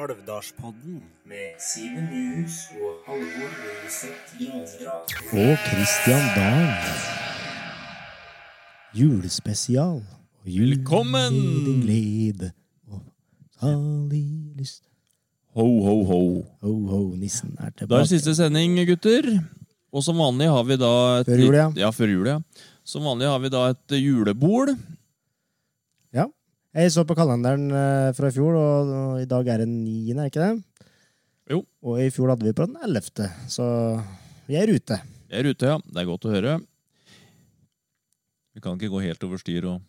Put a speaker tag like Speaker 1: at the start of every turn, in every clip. Speaker 1: Garasjepodden
Speaker 2: med Simen Nyhus og Halvor Løseth Grindrag.
Speaker 3: og Christian Dahl. Julespesial. Og jul
Speaker 1: Velkommen!
Speaker 3: i Din glede og salig lyst.
Speaker 1: Ho, ho, ho.
Speaker 3: Ho, ho, nissen er
Speaker 1: Da er det
Speaker 3: tilbake.
Speaker 1: siste sending, gutter. Og som vanlig har vi da et,
Speaker 3: Før jul, ja.
Speaker 1: Ja, før jul, ja. Som vanlig har vi da et eh, julebord.
Speaker 3: Ja. Jeg så på kalenderen eh, fra i fjor, og, og i dag er det niende, er ikke det?
Speaker 1: Jo.
Speaker 3: Og i fjor hadde vi på den ellevte, så vi er ute.
Speaker 1: Jeg er ute, ja. Det er godt å høre. Vi kan ikke gå helt over styr og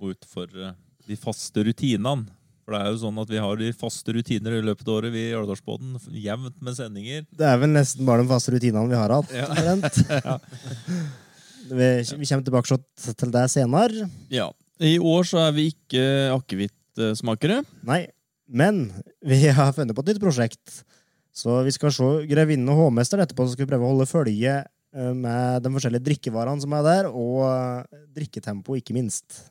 Speaker 1: gå ut for eh, de faste rutinene. For det er jo sånn at vi har de faste rutiner i løpet av året, vi i Alvdalsbåten. Jevnt med sendinger.
Speaker 3: Det er vel nesten bare de faste rutinene vi har hatt.
Speaker 1: Ja.
Speaker 3: omtrent. Vi, vi kommer tilbake til det senere.
Speaker 1: Ja. I år så er vi ikke eh, akevittsmakere.
Speaker 3: Nei, men vi har funnet på et nytt prosjekt. Så vi skal se Grevinnen og hovmesteren etterpå, så skal vi prøve å holde følge eh, med de forskjellige drikkevarene som er der, og eh, drikketempo, ikke minst.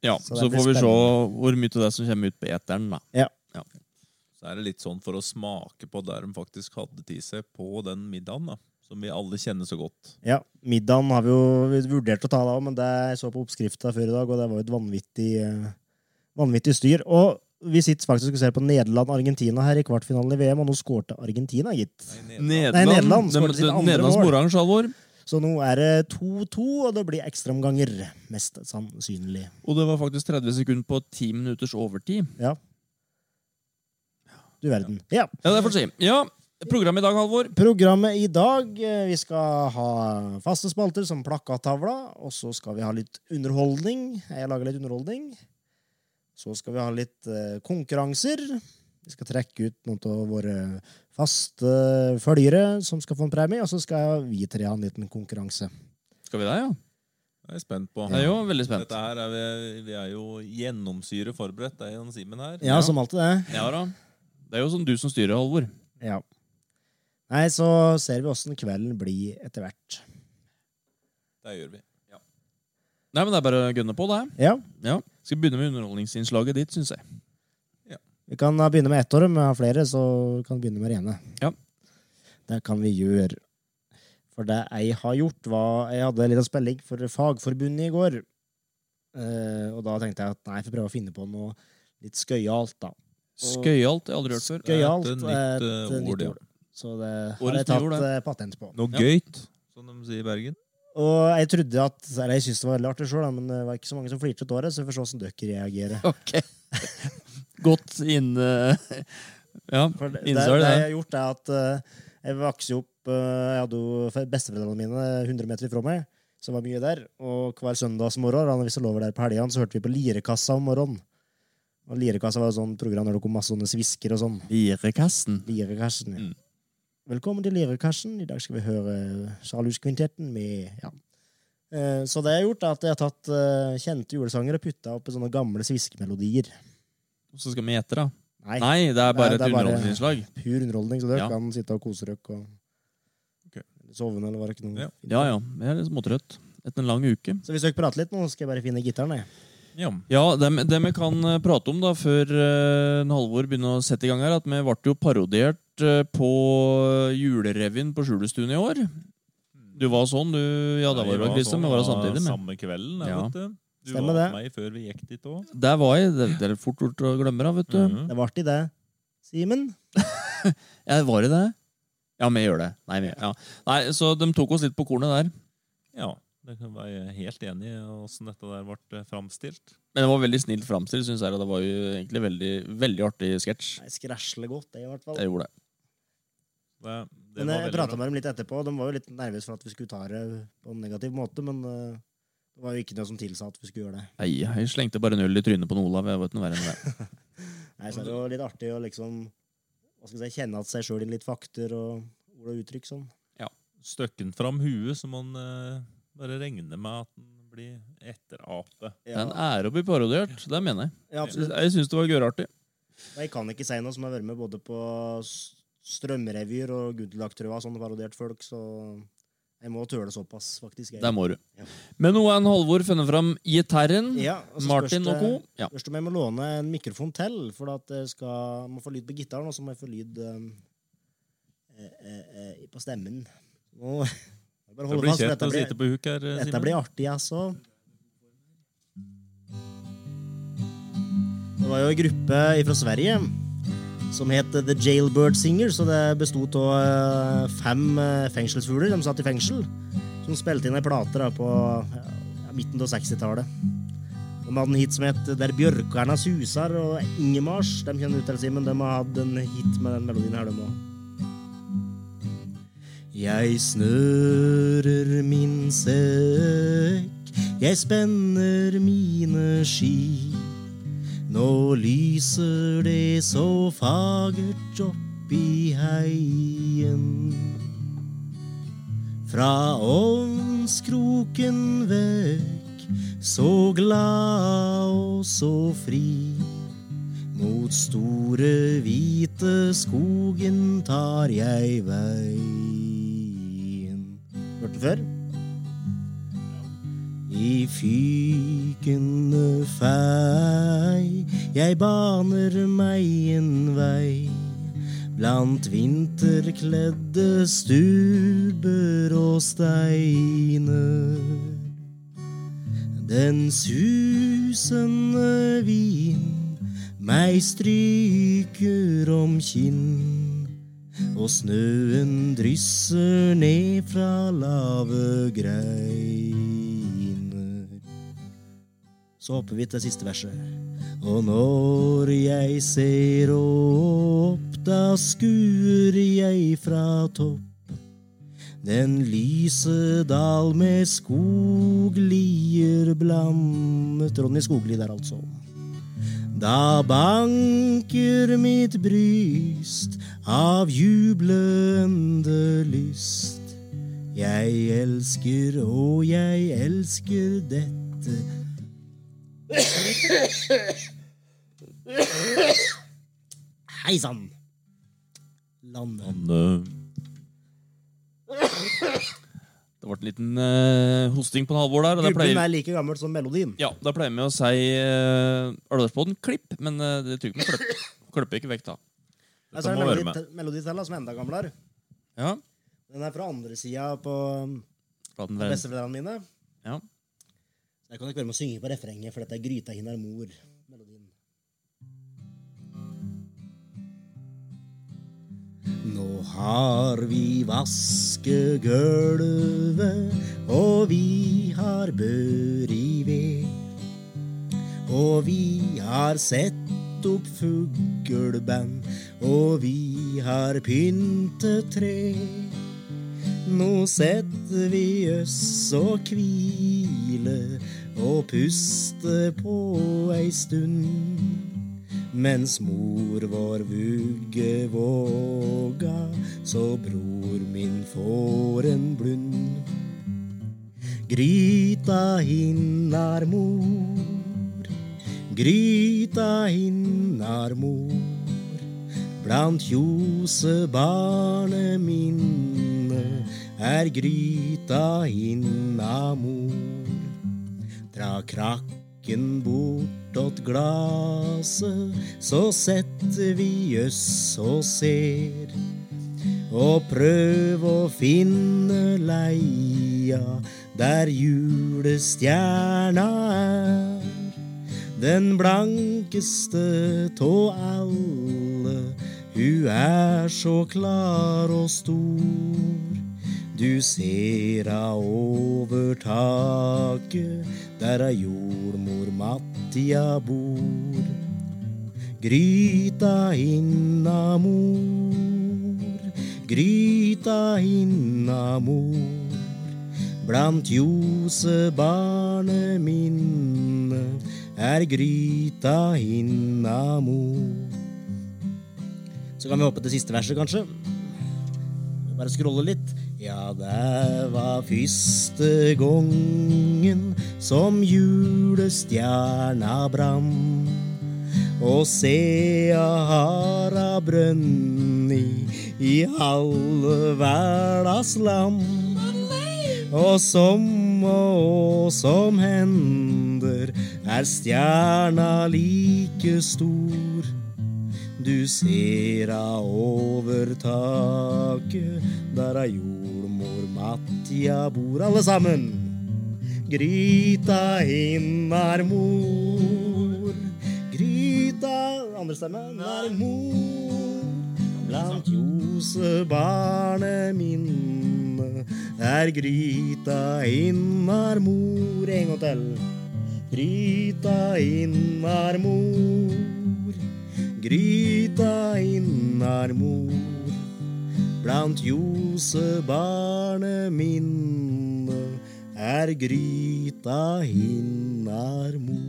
Speaker 1: Ja,
Speaker 3: Så
Speaker 1: så,
Speaker 3: det blir
Speaker 1: får vi se
Speaker 3: spennende.
Speaker 1: hvor mye av det som kommer ut på eteren, da.
Speaker 3: Ja.
Speaker 4: Så er det litt sånn for å smake på der de faktisk hadde til seg på den middagen, da. Som vi alle kjenner så godt.
Speaker 3: Ja, middagen har vi jo vurdert å ta det av, men det jeg så på oppskrifta før i dag, og det var jo et vanvittig, eh, vanvittig styr. Og vi sitter faktisk og ser på Nederland-Argentina her i kvartfinalen i VM, og nå skårte Argentina, gitt.
Speaker 1: Nederland,
Speaker 3: Nei, Nederland
Speaker 1: de,
Speaker 3: skåret
Speaker 1: de,
Speaker 3: sitt andre
Speaker 1: Nederland
Speaker 3: mål.
Speaker 1: skårer oransje, Alvor.
Speaker 3: Så nå er det 2-2, og det blir ekstraomganger, mest sannsynlig.
Speaker 1: Og det var faktisk 30 sekunder på 10 minutters overtid.
Speaker 3: Ja. Du verden. Ja.
Speaker 1: Ja, det får vi si. Ja, programmet i dag, Halvor.
Speaker 3: Programmet i dag eh, Vi skal ha faste spalter som plakattavla, og så skal vi ha litt underholdning. Jeg lager litt underholdning. Så skal vi ha litt eh, konkurranser. Vi skal trekke ut noen av våre faste følgere som skal få en premie, og så skal vi tre ha en liten konkurranse.
Speaker 1: Skal vi det, ja?
Speaker 4: Det er jeg spent på.
Speaker 1: Jeg er jo veldig spent.
Speaker 4: Dette her er vi, vi er jo gjennomsyre forberedt, det er Jan Simen her.
Speaker 3: Ja, som alltid det.
Speaker 1: Ja da. Det er jo sånn du som styrer, Halvor.
Speaker 3: Ja. Nei, så ser vi åssen kvelden blir etter hvert.
Speaker 4: Det gjør vi.
Speaker 1: Nei, men det er bare å gønne på, det.
Speaker 3: Ja.
Speaker 1: Ja. Skal vi begynne med underholdningsinnslaget ditt, syns jeg.
Speaker 3: Vi kan da begynne med ett år, men vi har flere, så vi kan begynne med det ene.
Speaker 1: Ja.
Speaker 3: Det kan vi gjøre. For det jeg har gjort, var Jeg hadde litt av spilling for Fagforbundet i går. Eh, og da tenkte jeg at nei, jeg får prøve å finne på noe litt skøyalt, da.
Speaker 1: Skøyalt, jeg har aldri hørt
Speaker 4: er
Speaker 1: før.
Speaker 4: et
Speaker 3: Skøyalt er et,
Speaker 4: nytt, eh,
Speaker 3: eh,
Speaker 4: ord,
Speaker 3: nytt
Speaker 4: ja.
Speaker 3: ord. Så det har
Speaker 1: Årets
Speaker 3: jeg tatt
Speaker 1: nyord, det.
Speaker 3: eh, patent på.
Speaker 4: Noe
Speaker 1: Ja.
Speaker 4: gøyt, som de sier i Bergen.
Speaker 3: Og jeg trodde at Eller jeg syntes det var veldig artig sjøl, men det var ikke så mange som flirte av året, så vi får se åssen dere reagerer.
Speaker 1: Ok. Godt inne Ja,
Speaker 3: For det, det,
Speaker 1: innsøl,
Speaker 3: det
Speaker 1: det.
Speaker 3: jeg har gjort, er at eh, jeg vokste jo opp eh, Jeg hadde jo besteforeldrene mine 100 meter ifra meg, som var mye der. Og hver søndagsmorgen, da, hvis det lå over der på helgene, så hørte vi på Lirekassa om morgenen. Og Lirekassa var jo sånn program der det kom masse sånne svisker og sånn.
Speaker 1: Lirekassen.
Speaker 3: Lirekassen, ja.
Speaker 1: Mm.
Speaker 3: Velkommen til Lirekassen. I dag skal vi høre Charlus-kvintetten med ja. Eh, Så det jeg har gjort, er at jeg har tatt eh, kjente julesanger og putta opp i sånne gamle sviskemelodier.
Speaker 1: Så skal vi gjette, da.
Speaker 3: Nei,
Speaker 1: Nei, det er
Speaker 3: Nei,
Speaker 1: bare et
Speaker 3: det er bare-
Speaker 1: underholdningsinnslag.
Speaker 3: pur underholdning, så dere
Speaker 1: Ja.
Speaker 3: kan sitte og kose dere. Og...
Speaker 4: Ok.
Speaker 3: Sovende, eller var det ikke noe?
Speaker 4: Ja.
Speaker 1: Ja ja, jeg er litt småtrøtt etter en lang uke.
Speaker 3: Så hvis dere prater litt nå, så skal jeg bare finne gitaren. Jeg.
Speaker 4: Ja.
Speaker 1: Ja, det vi- det vi kan eh, prate om da før eh, en Halvor begynner å sette i gang her, at vi ble jo parodiert eh, på eh, julerevyen på Skjulestuen i år. Du var sånn, du Ja, da var du vel Christian,
Speaker 4: sånn,
Speaker 1: men var det samtidig med.
Speaker 4: Samme kvelden,
Speaker 1: Ja.
Speaker 4: ja. vet du. Du
Speaker 3: Stemmer
Speaker 4: var
Speaker 3: det.
Speaker 4: med meg før vi gikk dit òg.
Speaker 1: Der var jeg. Det det er fort gjort å glemme, da, vet
Speaker 4: Mm.
Speaker 1: du.
Speaker 3: Det var artig, det. Simen?
Speaker 1: Jeg var i det. Ja, vi gjør det. Nei, vi, ja. Nei, så de tok oss litt på kornet der.
Speaker 4: Ja. Det kan være helt enig i åssen dette der ble eh, framstilt.
Speaker 1: Men det var veldig snilt framstilt, syns jeg. og Det var jo egentlig veldig, veldig artig sketsj.
Speaker 3: Nei, skræsler godt, det, i hvert fall.
Speaker 1: Jeg gjorde det.
Speaker 4: Det, det
Speaker 3: Men
Speaker 4: var
Speaker 3: jeg
Speaker 4: veldig
Speaker 3: prata
Speaker 4: bra.
Speaker 3: med dem litt etterpå, og de var jo litt nervøse for at vi skulle ta det på en negativ måte, men eh, det var jo ikke noe som tilsa at vi skulle gjøre det.
Speaker 1: Nei, jeg slengte bare en øl i trynet på noen Olav. Jeg vet noe verre enn det.
Speaker 3: Nei, så er det jo litt artig å liksom hva skal jeg si, kjenne at seg sjøl i litt fakter og ord og uttrykk sånn.
Speaker 4: støkken fram huet, så man eh, bare regner med at den blir etterapet.
Speaker 1: Det er en ære å bli parodiert. Det mener jeg.
Speaker 3: ja
Speaker 1: Jeg
Speaker 3: absolutt.
Speaker 1: syns- Jeg syns det var gørartig.
Speaker 3: Jeg kan ikke si noe som har vært med både på s- strømrevyer og Goodluck-trua, sånn parodiert folk, så
Speaker 2: Jeg må tåle såpass, faktisk. Jeg.
Speaker 1: Der må du.
Speaker 2: Ja.
Speaker 1: Men nå er en Halvor funnet fram gitaren.
Speaker 2: Ja, og så
Speaker 1: Martin
Speaker 2: spørs
Speaker 1: og
Speaker 2: det-
Speaker 1: co. Ja.
Speaker 2: Først om jeg må låne en mikrofon til, for at jeg skal, må få lyd på gitaren, og så må jeg få lyd um, eh, eh, eh, på stemmen. Nå, jeg bare
Speaker 3: Det
Speaker 2: holde
Speaker 3: blir
Speaker 2: fast, for
Speaker 3: kjekt
Speaker 2: dette
Speaker 3: å
Speaker 2: blir,
Speaker 3: sitte på huk her,
Speaker 4: eh,
Speaker 2: dette
Speaker 3: Simen.
Speaker 2: blir artig, altså. Det var jo en gruppe fra Sverige som het The Jailbird Singers, og det bestod av eh, fem eh, fengselsfugler. De satt i fengsel, som spilte inn ei plate da på ja, midten av 60-tallet. De hadde en hit som het Der bjørkarna susar og Ingemars. De kjenner du til, Simen. De har hatt en hit med den melodien her, de òg. Jeg snører min sekk, jeg spenner mine ski. Nå lyser det så fagert opp i heien. Fra ovnskroken vekk, så glad og så fri. Mot store, hvite skogen tar jeg veien. Hørt den før? I fykende fei, jeg baner meg en vei. Blant vinterkledde stuber og steiner. Den susende vin meg stryker om kinn. Og snøen drysser ned fra lave greiner. Så hopper vi til siste verset. Og når jeg ser opp, da skuer jeg fra topp. Den lyse dal med skoglier blandet Ronny Skogli der, altså. Da banker mitt bryst av jublende lyst. Jeg elsker og jeg elsker dette Hei sann! Landet.
Speaker 3: Han, øh,
Speaker 1: Det ble en liten eh, hosting på en Halvor der. Og det
Speaker 2: Gruppen
Speaker 1: pleier,
Speaker 2: er like gammel som melodien.
Speaker 1: ja, da pleier vi å si uh, Alderspodden klipp, men eh, det tror jeg ikke vi klipper. Klipper ikke vekk, da.
Speaker 2: Jeg sa Altså,
Speaker 3: må være
Speaker 2: melodi,
Speaker 3: med.
Speaker 2: te- melodi til, da, som er enda gamlere.
Speaker 1: Ja.
Speaker 2: Den er fra andre sida på um,
Speaker 1: La den være.
Speaker 2: besteforeldrene mine.
Speaker 1: Ja.
Speaker 2: Så jeg kan ikke være med å synge på refrenget, for dette er Gryta hinnar mor. Melodien. Nå har vi vaskegulvet, og vi har bør i ved. Og vi har sett opp fugleband, og vi har pyntet tre. Nå setter vi oss og hvile og puste på ei stund. Mens mor vår vugge våga, så bror min får en blund. Gryta hinnar mor, gryta hinnar mor. Blant ljosebarnet minne er gryta innamor. Dra krakken bortåt glaset, så setter vi oss og ser. Og prøv å finne leia der julestjerna er. Den blankeste tå alle, hun er så klar og stor. Du ser a over taket, der a jordmor Mattia bor. Gryta hinna mor, gryta hinna mor. Blant ljosebarnet minne er gryta hinna mor. Så kan vi hoppe til siste verset, kanskje. Bare scrolle litt. Ja, det var første gongen som julestjerna brann. Og sea har a brønni i alle verdas land.
Speaker 3: Og som og som hender er stjerna like stor. Du ser a over taket, der a jordmor Mattia bor, alle sammen. Gryta innar mor. Gryta Andre stemme. Nær mor. Blant ljosebarnet minne er gryta innar mor. En gang til. Gryta innar mor. Gryta innar mor. Blant ljosebarnet minne er gryta hinnar mor.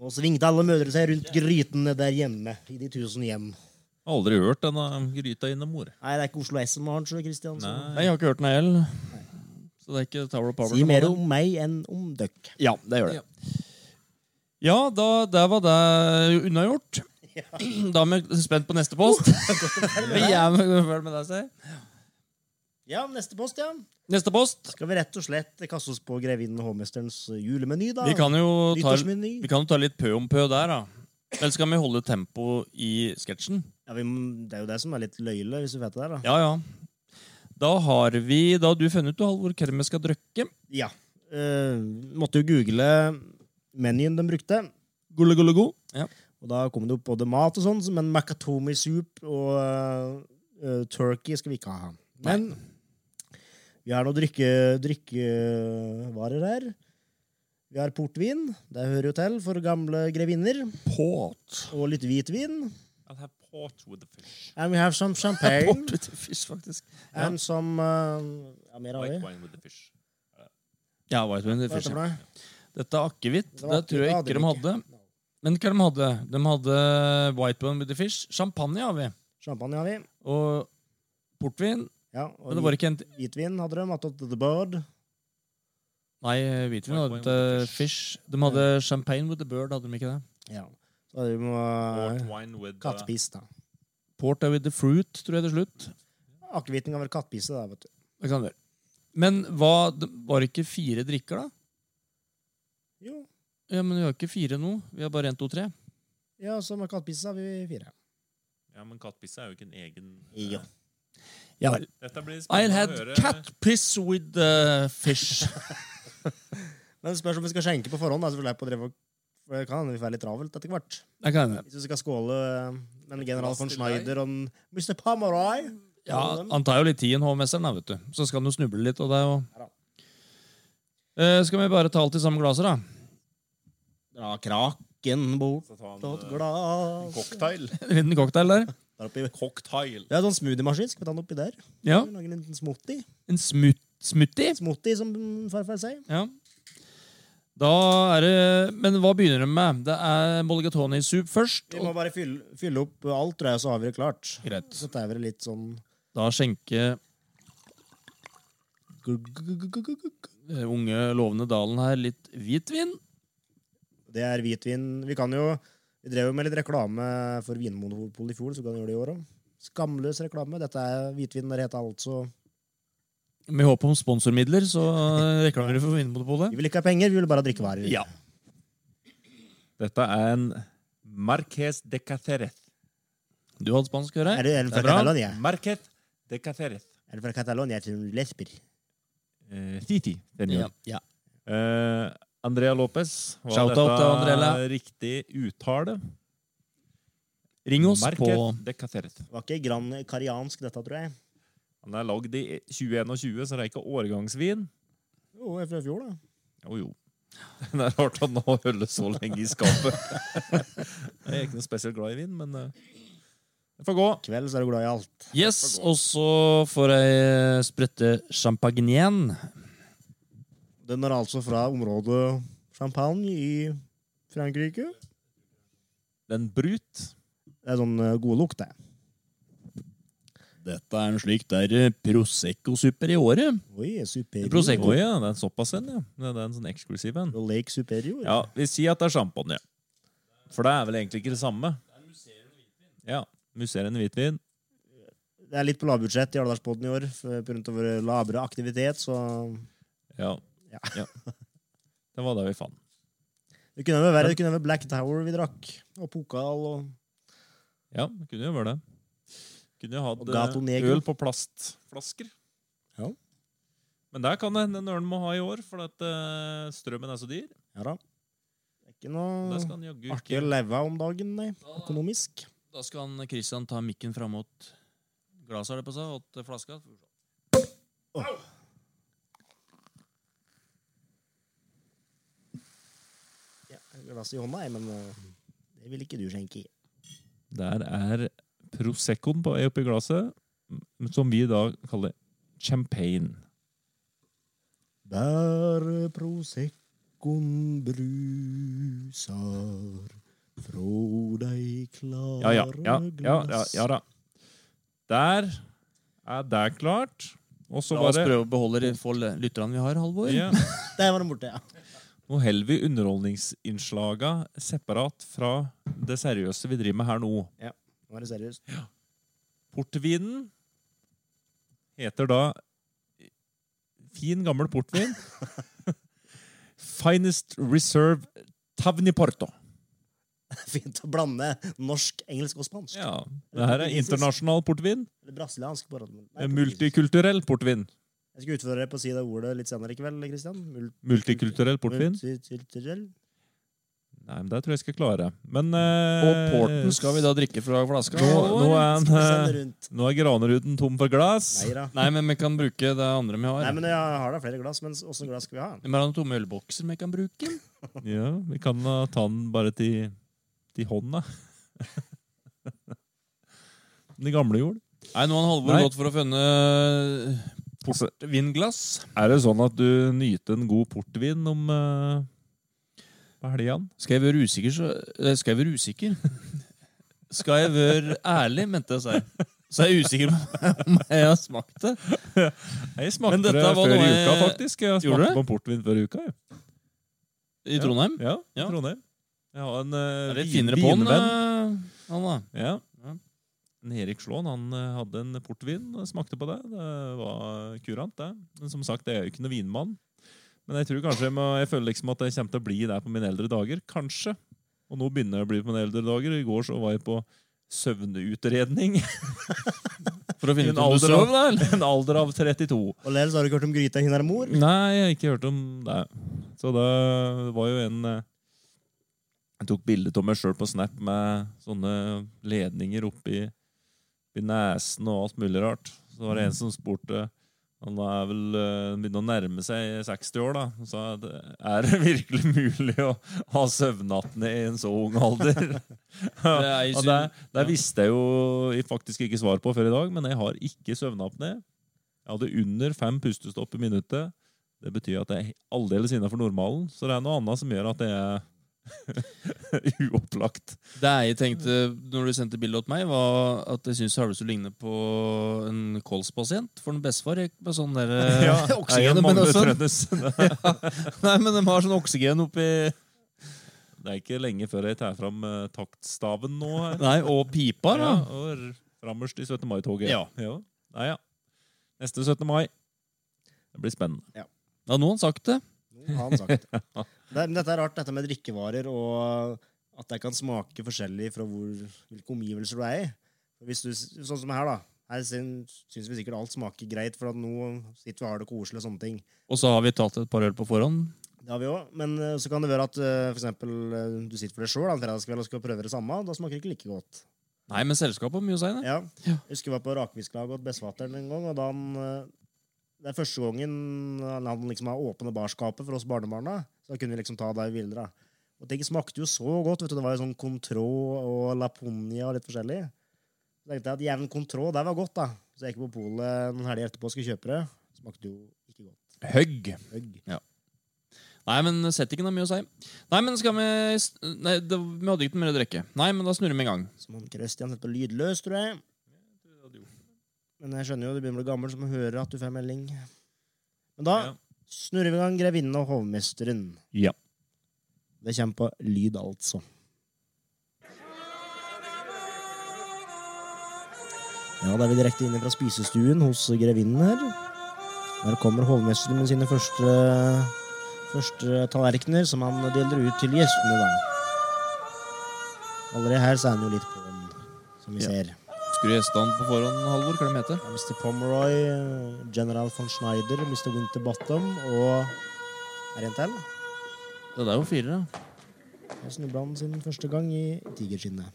Speaker 3: Nå svingte alle mødre seg rundt grytene der hjemme, i de tusen hjem.
Speaker 1: Aldri hørt denne gryta inne, mor.
Speaker 3: Nei, det er ikke Oslo S som har den, sjø, Kristian. så-
Speaker 1: Nei, jeg har ikke hørt den jeg heller. Så det er ikke Tower of Power.
Speaker 3: Si
Speaker 1: som har
Speaker 3: mer
Speaker 1: den.
Speaker 3: om meg enn om døkk.
Speaker 5: Ja, det gjør det.
Speaker 1: Ja. Ja, da, der var det unnagjort. Da er vi spent på neste post. vi er med, følg med deg, si.
Speaker 3: Ja, neste post, ja.
Speaker 1: Neste post.
Speaker 3: Skal vi rett og slett kaste oss på Grevinnen og hovmesterens julemeny, da?
Speaker 1: Vi kan jo ta,
Speaker 3: Nyttårsmeny.
Speaker 1: vi kan jo ta litt pø om pø der, da. Eller skal vi holde tempo i sketsjen?
Speaker 3: Ja, vi, må- det er jo det som er litt løyle, hvis du vet det der, da.
Speaker 1: Ja, ja. Da har vi Da har du funnet ut, Halvor, hva vi skal drikke.
Speaker 3: Ja. Eh, måtte jo google menyen de brukte.
Speaker 1: Gulle, gulle, go. Ja.
Speaker 3: Og da kom det opp både mat og sånn, som en macatomi soup og eh, eh, turkey skal vi ikke ha. Men vi har noen drikke, drikkevarer her. Vi har portvin, det hører jo til for gamle grevinner.
Speaker 1: Port.
Speaker 3: Og litt hvitvin.
Speaker 1: I'll have port with the fish.
Speaker 3: And we have some champagne.
Speaker 1: Port with the fish, faktisk.
Speaker 3: And some eh, Ja, mer har vi.
Speaker 1: wine with the fish. Ja, white wine with
Speaker 3: Hva
Speaker 1: the
Speaker 3: er
Speaker 1: fish.
Speaker 3: det
Speaker 1: ja.
Speaker 3: for noe?
Speaker 1: Dette er akevitt.
Speaker 3: Det
Speaker 1: Det,
Speaker 3: var akevitt, det
Speaker 1: tror jeg ikke de
Speaker 3: hadde vi
Speaker 1: hadde. Men hva de hadde? De hadde white bone with the fish. Champagne har vi.
Speaker 3: Champagne har vi.
Speaker 1: Og portvin.
Speaker 3: Ja,
Speaker 1: Men
Speaker 3: og
Speaker 1: det var ikke en t-
Speaker 3: hvitvin hadde de. At the bird.
Speaker 1: Nei, hvitvin
Speaker 4: White
Speaker 1: hadde
Speaker 4: wine with
Speaker 1: ikke fish. De hadde champagne with the bird, hadde de ikke det?
Speaker 3: Ja. Så hadde vi
Speaker 4: Port
Speaker 3: uh,
Speaker 4: wine with uh,
Speaker 3: kattepis, da.
Speaker 1: Port with the fruit, tror jeg til slutt.
Speaker 3: Akevitten kan være kattepise, da, vet du.
Speaker 1: Det kan det være. Men hva, det var det ikke fire drikker, da?
Speaker 3: Jo.
Speaker 1: Ja, Men vi har ikke fire nå. Vi har bare én, to, tre.
Speaker 3: Ja, så med kattepisse har vi fire.
Speaker 4: Ja, men kattpisse er jo ikke en egen eh,
Speaker 3: Ja.
Speaker 1: Ja vel.
Speaker 4: Dette blir
Speaker 1: I'll
Speaker 4: spennende
Speaker 1: have
Speaker 4: å høre.
Speaker 1: cat piss with the fish.
Speaker 3: Men det spørs om vi skal skjenke på forhånd. Da, så vi lærer på å drive og- for det kan hende vi får litt travelt etter hvert.
Speaker 1: Det kan hende.
Speaker 3: Hvis vi skal skåle eh, med en general von Schneider og en Mr. Pomeroy
Speaker 1: Ja, han tar jo litt tid, HMS-eren, da, vet du. Så skal han jo snuble litt, og det er jo
Speaker 3: Ja da.
Speaker 1: Eh, Skal vi bare ta alt i samme glaset, da?
Speaker 3: Dra kraken bort
Speaker 4: Så ta en
Speaker 3: åt
Speaker 4: uh,
Speaker 3: glass
Speaker 4: cocktail.
Speaker 1: En liten cocktail der?
Speaker 3: Der oppi.
Speaker 4: Cocktail.
Speaker 3: Det er sånn smoothiemaskin. Skal vi ta den oppi der?
Speaker 1: Ja.
Speaker 3: Lage en liten smoothie.
Speaker 1: En smut smoothie?
Speaker 3: Smoothie, som farfar sier.
Speaker 1: Ja. Da er det Men hva begynner de med? Det er mulligatawny soup først.
Speaker 3: Vi må
Speaker 1: Og
Speaker 3: bare fylle, fylle opp alt, tror jeg, så har vi det klart.
Speaker 1: greit.
Speaker 3: Så det er vel litt sånn
Speaker 1: Da skjenker eh, unge, lovende Dalen her litt hvitvin.
Speaker 3: Det er hvitvin. Vi kan jo Vi drev jo med litt reklame for Vinmonopolet i fjor, så vi kan gjøre det i år òg. Skamløs reklame. Dette er hvitvin der heter altså
Speaker 1: Med håp om sponsormidler, så eh, reklamerer vi for Vinmonopolet.
Speaker 3: Vi vil ikke ha penger, vi vil bare ha drikkevarer.
Speaker 1: Ja.
Speaker 4: Dette er en Marques de Caceres.
Speaker 1: Du hadde spansk, hører
Speaker 3: Er du er du
Speaker 1: jeg. Det
Speaker 3: fra
Speaker 1: er bra.
Speaker 3: Catalonia?
Speaker 4: Marques de Caceres.
Speaker 3: Er du fra Catalonia? Jeg tror du lesber.
Speaker 4: Eh, Titi, den
Speaker 1: Ja.
Speaker 4: gjør. Eh, Andrea Lopez. Var
Speaker 1: Shoutout
Speaker 4: dette
Speaker 1: til Andrea.
Speaker 4: Riktig uttale.
Speaker 1: Ring oss på
Speaker 4: Marques de Caceres.
Speaker 3: Det var ikke gran kariansk, dette, tror jeg.
Speaker 4: Han er lagd i 2021, så det er ikke årgangsvin.
Speaker 3: Jo, jeg er fra i fjor, da.
Speaker 4: Jo, jo. Det er rart at han har holdt så lenge i skapet. Jeg er ikke noe spesielt glad i vin, men eh, det får gå.
Speaker 3: Kveld så er du glad i alt.
Speaker 1: Yes, og så får jeg sprette champagnen.
Speaker 3: Den er altså fra området Champagne i Frankrike.
Speaker 4: Den brut.
Speaker 3: Det er sånn eh, god lukt, det.
Speaker 1: Dette er en slik der Prosecco-supper i året.
Speaker 3: Oi, superior.
Speaker 1: Prosecco.
Speaker 4: Å ja, det er såpass en, ja. Det er en sånn eksklusiv en.
Speaker 3: Og Lake superior.
Speaker 4: Ja, vi sier at det er champagne. For det er vel egentlig ikke det samme. Ja, musserende hvitvin.
Speaker 3: Det er litt på lavbudsjett i Alvdalspodden i år pga. vår labre aktivitet, så
Speaker 4: Ja.
Speaker 3: Ja.
Speaker 4: ja. Det var det vi fant.
Speaker 3: det kunne vært verre. Det kunne vært Black Tower vi drakk, og pokal og
Speaker 4: Ja, det kunne jo vært det. Kunne jo
Speaker 3: Og
Speaker 4: hatt
Speaker 3: Gato
Speaker 4: eh,
Speaker 3: Negro.
Speaker 4: øl på plastflasker.
Speaker 3: Ja.
Speaker 4: Men der kan det hende en ørn må ha i år, for at eh, strømmen er så dyr.
Speaker 3: Ja da. Det er ikke
Speaker 4: Der skal
Speaker 3: noe
Speaker 4: han jaggu
Speaker 3: artig
Speaker 4: ikke
Speaker 3: å leve av om dagen, nei. Økonomisk.
Speaker 1: Da skal han, Christian ta mikken fram mot glasset, har det på seg, og flaska.
Speaker 3: Ja, glass i hånda, jeg, men eh, det vil ikke du skjenke i.
Speaker 4: Der er Proseccoen på vei oppi glasset, m- som vi da kaller champagne.
Speaker 3: Der Proseccoen bruser frå dei klare
Speaker 4: Ja, ja, ja, ja, ja, ja da. Der er det klart. Og så
Speaker 1: La
Speaker 4: var
Speaker 1: oss
Speaker 4: det
Speaker 1: prøve å beholde de få l- lytterne vi har, Halvor.
Speaker 4: ja.
Speaker 3: Der var den borte, ja.
Speaker 4: Nå holder vi underholdningsinnslaga separat fra det seriøse vi driver med her nå.
Speaker 3: Nå er det seriøst.
Speaker 4: Portvinen heter da Fin, gammel portvin. Finest Reserve Tavni Porto.
Speaker 3: Fint å blande norsk, engelsk og spansk.
Speaker 4: Ja, det her er internasjonal portvin.
Speaker 3: Eller brasiliansk. Bare. Nei, portugisisk.
Speaker 4: Multikulturell portvin.
Speaker 3: Jeg skal utfordre deg på å si det ordet litt senere i kveld, Christian. Mul-
Speaker 4: Multikulturell portvin?
Speaker 3: Multikulturell.
Speaker 4: Nei, men det tror jeg jeg skal klare. Men eh,
Speaker 1: Og porten skal vi da drikke fra flaska.
Speaker 4: nå, nå,
Speaker 1: Halvor?
Speaker 4: er,
Speaker 3: Skal vi sende
Speaker 4: en, eh,
Speaker 3: rundt?
Speaker 4: nå er Graneruden tom for glass.
Speaker 3: Nei da.
Speaker 1: Nei, men vi kan bruke det andre vi har.
Speaker 3: Nei, men jeg har da flere glass, men åssen glass skal vi ha?
Speaker 1: Vi må ha noen tomme ølbokser vi kan bruke.
Speaker 4: Ja, Vi kan eh, ta den bare til, til hånda. Den gamle jord.
Speaker 1: Nei, nå har Halvor
Speaker 4: Nei.
Speaker 1: gått for å finne
Speaker 4: Altså,
Speaker 1: vinglass.
Speaker 4: er det sånn at du nyter en god portvin om eh, på helgene?
Speaker 1: Skal jeg være usikker, så eh, Skal jeg være usikker? Skal jeg være ærlig, mente jeg å si. Så er jeg usikker på om jeg har smakt det.
Speaker 4: Jeg
Speaker 1: Men
Speaker 4: smakte
Speaker 1: dette
Speaker 4: det
Speaker 1: var
Speaker 4: før
Speaker 1: noe
Speaker 4: i
Speaker 1: jeg-
Speaker 4: uka, faktisk. Jeg
Speaker 1: Gjorde
Speaker 4: smakte på en portvin før i uka. Jeg.
Speaker 1: I Trondheim.
Speaker 4: Ja, i
Speaker 1: Ja.
Speaker 4: Trondheim. Jeg har en eh,
Speaker 1: Er det
Speaker 4: vin-
Speaker 1: finere på den,
Speaker 4: vinvenn.
Speaker 1: eh, han da?
Speaker 4: Ja.
Speaker 1: Ja.
Speaker 4: En Erik Slåen han eh, hadde en portvin og smakte på det. Det var kurant, det. Men som sagt, jeg er jo ikke noen vinmann. Men jeg tror kanskje jeg, må, jeg føler liksom at jeg kommer til å bli der på mine eldre dager. Kanskje. Og nå begynner jeg å bli på mine eldre dager. I går så var jeg på søvnutredning.
Speaker 1: For å
Speaker 4: I
Speaker 1: finne
Speaker 4: en
Speaker 1: ut om du
Speaker 4: alder av-
Speaker 1: sov, da? eller?
Speaker 4: en alder av 32.
Speaker 3: Og Lell, så har du ikke hørt om gryta hin er mor?
Speaker 4: Nei, jeg har ikke hørt om det. Så det var jo en eh, Jeg tok bilde av meg sjøl på Snap med sånne ledninger oppi i nesen og alt mulig rart. Så var det en som spurte Han er vel eh, begynner å nærme seg 60 år, da. Og sa at er det virkelig mulig å ha søvnnattene i en så ung alder?
Speaker 1: Det er i
Speaker 4: Og
Speaker 1: syn-
Speaker 4: det, det visste jeg jo jeg faktisk ikke svar på før i dag, men jeg har ikke søvnapné. Jeg hadde under fem pustestopp i minuttet. Det betyr at jeg er aldeles innafor normalen, så det er noe annet som gjør at jeg er uopplagt.
Speaker 1: Det jeg tenkte når du sendte bildet til meg, var at jeg syns Halvor ligner på en kolspasient. For en bestefar gikk med sånn derre
Speaker 4: jeg
Speaker 1: oksygen. Men
Speaker 4: mangler
Speaker 1: også,
Speaker 4: trøndes.
Speaker 1: nei, men de har sånn oksygen oppi
Speaker 4: Det er ikke lenge før jeg tar fram eh, taktstaven nå. Her.
Speaker 1: Nei, og pipa, da.
Speaker 4: Ja, og r- Frammerst i 17. mai-toget.
Speaker 1: Ja.
Speaker 4: Nei, ja. Neste 17. mai. Det blir spennende.
Speaker 1: Ja, nå har han sagt det.
Speaker 3: Jo, har han sagt. Det, men dette er rart, dette med drikkevarer, og at det kan smake forskjellig fra hvor, hvilke omgivelser du er i. Hvis du, sånn som her, da. Her syns syns vi sikkert alt smaker greit, for at nå sitter vi og har det koselig og sånne ting.
Speaker 1: Og så har vi tatt et par øl på forhånd.
Speaker 3: Det har vi òg. Men eh, så kan det være at eh, for eksempel, eh, du sitter for deg sjøl en fredagskveld og skal prøve det samme. Da smaker det ikke like godt.
Speaker 1: Nei, men selskapet har mye å si, det.
Speaker 3: Ja. Jeg husker vi var på rakfisklag hos bestefatteren en gang. og da han, eh, Det er første gangen han han liksom har åpnet barskapet for oss barnebarna. Så da kunne vi liksom ta det vi ville. da. Og ting smakte jo så godt. vet du, Det var jo sånn Contrå og Laponia og litt forskjellig. Så tenkte jeg at jevn Contrå, det var godt, da. Så jeg gikk på polet noen helger etterpå og skulle kjøpe det. Smakte jo ikke godt.
Speaker 1: Høgg.
Speaker 3: Høgg.
Speaker 1: Nei, men settingen har mye å si. Nei, men skal vi Nei, det, vi hadde ikke mer å drikke. Nei, men da snurrer vi i gang.
Speaker 3: Som han Christian setter på lydløs, tror jeg. Men jeg skjønner jo, du begynner å bli gammel, så må du høre at du får melding. Men da
Speaker 4: Ja.
Speaker 3: snurrer vi i gang Grevinnen og hovmesteren.
Speaker 4: Ja.
Speaker 3: Det kommer på lyd, altså. Ja, da er vi direkte inne fra spisestuen hos grevinnen her. Der kommer hovmesteren med sine første, første tallerkener, som han deler ut til gjestene, da. Allerede her så er han jo litt på den, som vi
Speaker 1: Ja.
Speaker 3: ser.
Speaker 1: Skru hestene på forhånd, Halvor. Hva er det de heter?
Speaker 3: Mr. Pomeroy, eh, General von Schneider, Mr. Winterbottom og Er det en til?
Speaker 1: Det der var fire. da.
Speaker 3: Jeg snubla han sin første gang i tigerskinnet.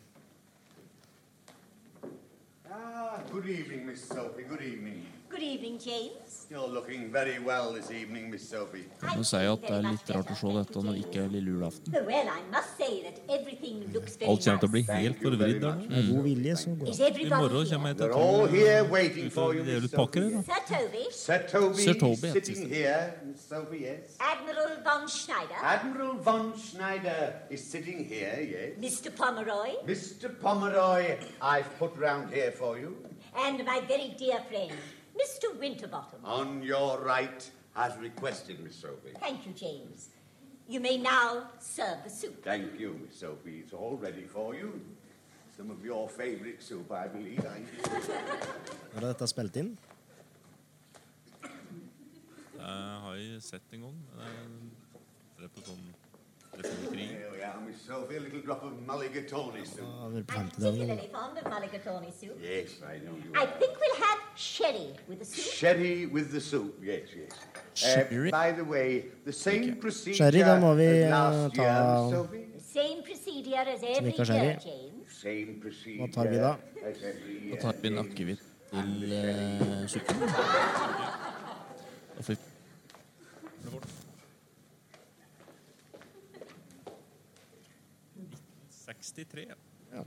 Speaker 6: Ah, good evening, Miss Sophie. Good evening.
Speaker 7: Good evening, James.
Speaker 6: You're looking very well this evening, Miss Sophie.
Speaker 1: Nå sier jeg at det er litt rart å se dette når det ikke er lille julaften.
Speaker 7: Well, I must say that everything looks very
Speaker 4: Alt kommer til å bli
Speaker 7: nice.
Speaker 4: helt forvridd der.
Speaker 1: Mm.
Speaker 4: nå.
Speaker 3: Med god vilje så går
Speaker 7: Is
Speaker 3: det.
Speaker 4: I
Speaker 7: everybody
Speaker 4: morgen
Speaker 7: here?
Speaker 4: kommer jeg til
Speaker 6: They're
Speaker 4: å ta
Speaker 6: all
Speaker 4: med
Speaker 6: here waiting
Speaker 4: ut og
Speaker 6: for you,
Speaker 4: dele
Speaker 6: Miss
Speaker 1: er
Speaker 4: ut pakker.
Speaker 6: Sophie.
Speaker 4: jeg, da.
Speaker 7: Sir Toby,
Speaker 6: Sir Toby,
Speaker 1: Sir Toby, yes, yes,
Speaker 6: sitting here, Miss Sophie, yes.
Speaker 7: Admiral von Schneider,
Speaker 6: Admiral von Schneider is sitting here, yes.
Speaker 7: Mr. Pomeroy,
Speaker 6: Mr. Pomeroy, I've put round here for you.
Speaker 7: and my very dear friend, Mr. Winterbottom.
Speaker 6: On your right, as requested, Miss Sophie.
Speaker 7: Thank you, James. You may now serve the soup.
Speaker 6: Thank you, Miss Sophie. It's all ready for you. Some of your favourite soup, I believe. aren't you?
Speaker 3: Når er dette spilt inn?
Speaker 4: Jeg har jeg sett en gang. men jeg- Det er på sånn telefonkrig.
Speaker 6: Here we are, Miss Sophie. A little drop of mulligatawny soup.
Speaker 3: Ja, vel på
Speaker 7: I'm
Speaker 3: 50-dagen.
Speaker 7: particularly fond of mulligatawny soup.
Speaker 6: Yes, I know you
Speaker 7: I
Speaker 6: are.
Speaker 7: think we'll have sherry with the soup.
Speaker 6: Sherry with the soup, yes, yes.
Speaker 1: Sherry?
Speaker 6: Uh, by the way, the same procedure
Speaker 3: Sherry, da må vi,
Speaker 6: as last
Speaker 3: eh,
Speaker 6: year,
Speaker 3: ta-
Speaker 6: Miss Sophie.
Speaker 7: Same procedure as every
Speaker 3: Snickers
Speaker 7: year,
Speaker 3: sherry.
Speaker 7: James.
Speaker 6: Same procedure.
Speaker 3: Hva tar vi da?
Speaker 6: as every year.
Speaker 1: Da tar vi en akevitt til eh, suppen. Da får vi-
Speaker 4: Ja.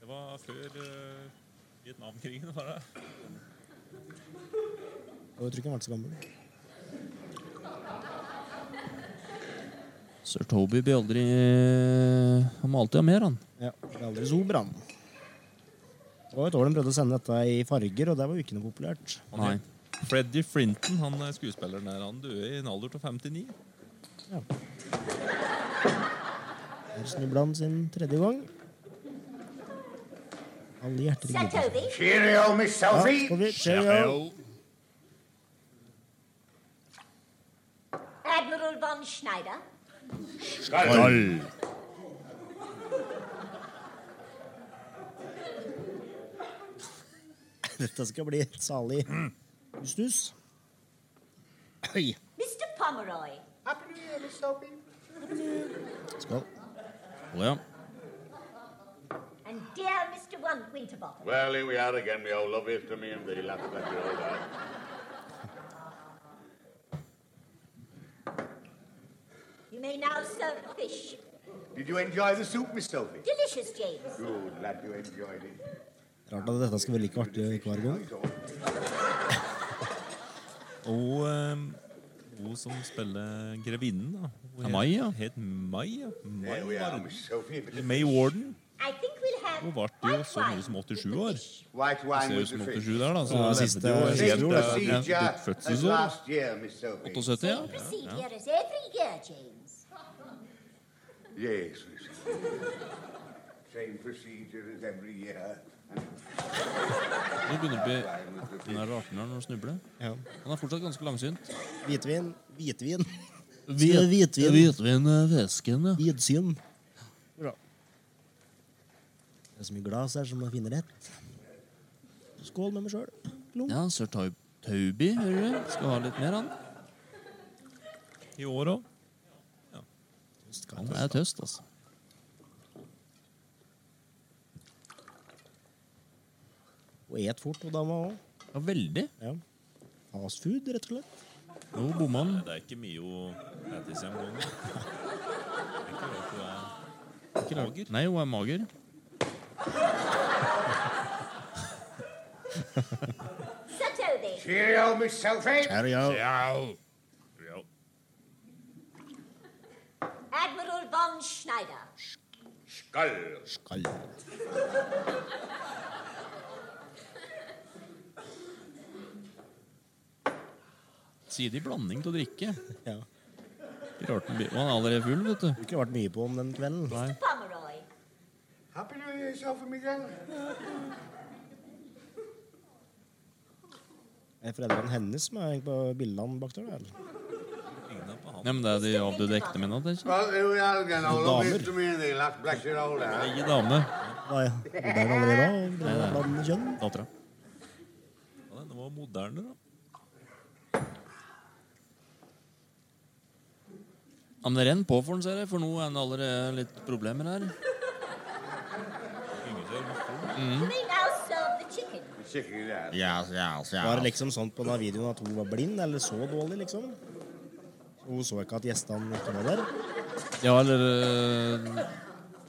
Speaker 4: Det var før eh, Vietnamkrigen, var det?
Speaker 3: Og Jeg tror ikke han ble så gammel.
Speaker 1: Sir Toby blir aldri Han må alltid ha mer, han.
Speaker 3: Ja, det er aldri sober, han. Det var et år de prøvde å sende dette i farger, og det var jo ikke noe populært.
Speaker 4: Han
Speaker 1: Nei.
Speaker 4: het Freddy Frinton, han er skuespilleren der, han døde i en alder av 59.
Speaker 3: Her snubla han sin tredje gang. Alle
Speaker 7: Sir
Speaker 3: hjerter gleder seg.
Speaker 7: Toby,
Speaker 6: Cheerio, Miss
Speaker 3: Ja,
Speaker 6: Sophie.
Speaker 3: skal vi Cheerio.
Speaker 7: Admiral von Schneider,
Speaker 3: Dette skal bli et salig hustus. Oi.
Speaker 7: Mr. Pomeroy,
Speaker 6: Happy New Year, Miss Sophie.
Speaker 3: Skål.
Speaker 1: Å ja.
Speaker 7: and dear Mr. One Winterbottom.
Speaker 6: Well, here we are again, me old love. It's to me and thee, laugh like you're all right.
Speaker 7: You may now serve the fish.
Speaker 6: Did you enjoy the soup, Miss Sophie?
Speaker 7: Delicious, James.
Speaker 6: Good, lad, you enjoyed it.
Speaker 3: Rart at dette skal være like artig hver gang.
Speaker 4: Og eh, hun som spiller grevinnen, da. Hun het-
Speaker 1: Mai, ja.
Speaker 4: Het Mai, ja. Mai
Speaker 6: There we are,
Speaker 4: Warden.
Speaker 6: Miss Sophie. But
Speaker 4: May Warden.
Speaker 7: I think we'll have
Speaker 4: Hun ble jo
Speaker 7: white
Speaker 4: så mye
Speaker 7: wine
Speaker 4: som
Speaker 7: with the
Speaker 4: 87 år.
Speaker 7: fish.
Speaker 6: white wine
Speaker 4: Ser jo
Speaker 6: with
Speaker 4: ut som
Speaker 6: the fish.
Speaker 4: 87 der, da. Så
Speaker 3: Ja,
Speaker 4: det
Speaker 3: siste-
Speaker 4: levde jo helt til
Speaker 6: Same procedure
Speaker 4: til ditt
Speaker 6: as
Speaker 4: fødselsår.
Speaker 6: last year, Miss Sophie.
Speaker 1: 78, ja.
Speaker 7: Same procedure as every year, James.
Speaker 6: Yes, Miss Sophie. Same procedure as every year.
Speaker 1: Nå begynner det å bli Den er 18 år når han snubler.
Speaker 3: Ja.
Speaker 1: Han er fortsatt ganske langsynt.
Speaker 3: Hvitvin. Hvitvin.
Speaker 1: Hvit-
Speaker 3: Hvitvin.
Speaker 1: Hvitvin eh, væsken, ja.
Speaker 3: Hvidsyn. Bra. Det er så mye glass her som man finner rett. Skål med meg sjøl.
Speaker 1: Ja, sir Taub Tauby, hører du? Skal ha litt mer, han.
Speaker 4: I år òg.
Speaker 1: Han er tøst, altså.
Speaker 3: Og et fort, og dama òg.
Speaker 1: Ja, veldig.
Speaker 3: Ja. Fast food, rett og slett.
Speaker 1: Nå bomma han.
Speaker 4: Det er ikke mye å ete seg om gangen.
Speaker 1: Ikke rart. Nei, hun er mager.
Speaker 7: Sir Toby,
Speaker 6: Cheerio, Miss Sophie.
Speaker 7: Admiral von Schneider,
Speaker 3: Skall.
Speaker 1: Sidig blanding til å drikke.
Speaker 3: Ja.
Speaker 1: Ikke rart han blir Og han er allerede full, vet du.
Speaker 3: Det har ikke vært mye på om den kvelden.
Speaker 7: Pomeroy,
Speaker 6: Happy New Year, yourself a Miguel?
Speaker 3: Er det foreldrene hennes som er på bildene bak der? Eller?
Speaker 1: Nei, men det er de avdøde ektemennene. det er ikke?
Speaker 6: Well, here we are again, old
Speaker 3: Damer.
Speaker 6: Mr. to me the luck bless your old house.
Speaker 4: Begge damene.
Speaker 3: Nei, det er den allerede da. det er blant kjønn.
Speaker 1: Dattera.
Speaker 4: Ja, den var moderne, da.
Speaker 1: Ja, men renn på for den, ser jeg, for nå er det allerede litt problemer her.
Speaker 7: You may now serve the chicken.
Speaker 6: Chicken, yeah.
Speaker 3: Var det liksom sånn på den videoen at hun var blind eller så dårlig, liksom? Hun så ikke at gjestene ikke var der.
Speaker 1: Ja, eller øh,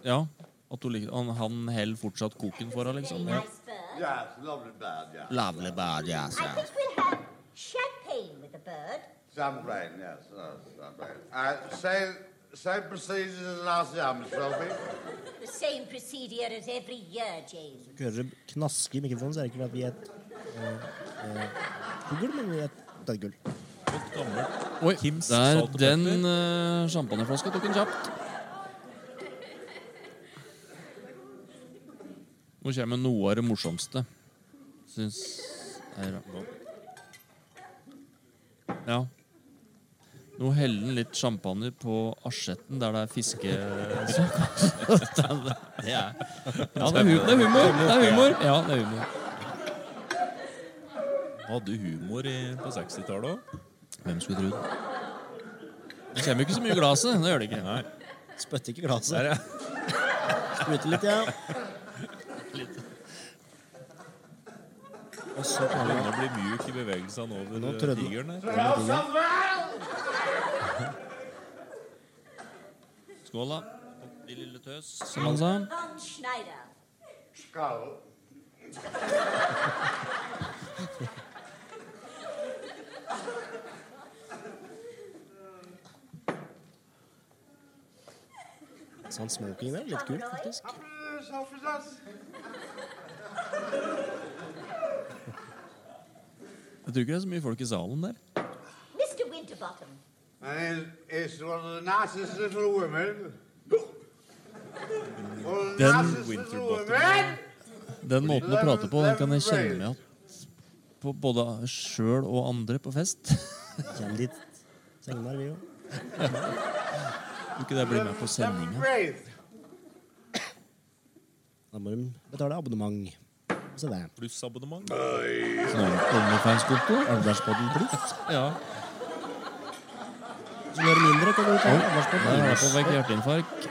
Speaker 1: Ja. At hun, lik- han, han heller fortsatt koken for henne, liksom. Ja.
Speaker 7: Nice bird.
Speaker 6: Yes, lovely bird, yeah.
Speaker 1: Lovely bird, yes,
Speaker 7: I think we'll have champagne with the bird.
Speaker 6: Some brain, yes, yes, some brain. Uh, same, same procedures as last year, Miss Sophie.
Speaker 7: The same procedure as every year, James.
Speaker 3: Du hører det knaske i mikrofonen, så er det ikke fordi at vi er et eh, eh, fugl, men vi er et potetgull.
Speaker 4: Godt gammelt.
Speaker 1: Oi,
Speaker 4: Kims
Speaker 1: der,
Speaker 4: salt og
Speaker 1: den
Speaker 4: pepper.
Speaker 1: øh, champagneflaska tok en kjapt. Nå kommer noe av det morsomste, syns jeg. da. Ja. Nå heller han litt champagne på asjetten der det er fiske... det er, ja, det er humor. Det er humor. Det er humor. Ja, det er humor.
Speaker 4: Hadde humor i, på 60-tallet òg.
Speaker 1: Hvem skulle tro det? Det kommer jo ikke så mye i glasset. Det gjør det ikke.
Speaker 4: Nei.
Speaker 3: Spytter ikke glasset. Spruter litt, ja. Og så kan vi
Speaker 4: Begynner å bli mjuk i bevegelsene over
Speaker 3: Nå
Speaker 4: eh,
Speaker 3: trødde-
Speaker 4: tigeren her.
Speaker 6: Well, some brain!
Speaker 1: Skål, da. De lille tøs, som han sa.
Speaker 7: Von Schneider.
Speaker 6: Skull.
Speaker 3: sånn smoking der. Litt kult, faktisk.
Speaker 6: Up to yourself with us.
Speaker 1: Jeg tror ikke det er så mye folk i salen der.
Speaker 7: Mr. Winterbottom.
Speaker 6: And it's, it's one of the nicest little women. One of the
Speaker 1: Then
Speaker 6: nicest
Speaker 4: Winterbottom.
Speaker 6: little women.
Speaker 1: Den måten å prate på, den kan jeg kjenne meg igjen på både sjøl og andre på fest.
Speaker 3: Kjenner litt senere, vi jo.
Speaker 1: Tror ikke det blir med på
Speaker 6: Some
Speaker 1: sendinga.
Speaker 6: brain.
Speaker 3: Da må de betale abonnement. Så det.
Speaker 4: Plussabonnement.
Speaker 1: Onlyfans-konto?
Speaker 3: Alderspodden pluss.
Speaker 1: Ja.
Speaker 3: Så gjør det mindre, kan du ta
Speaker 1: Der er jeg på
Speaker 3: alderspodden.
Speaker 1: vekk hjerteinfarkt.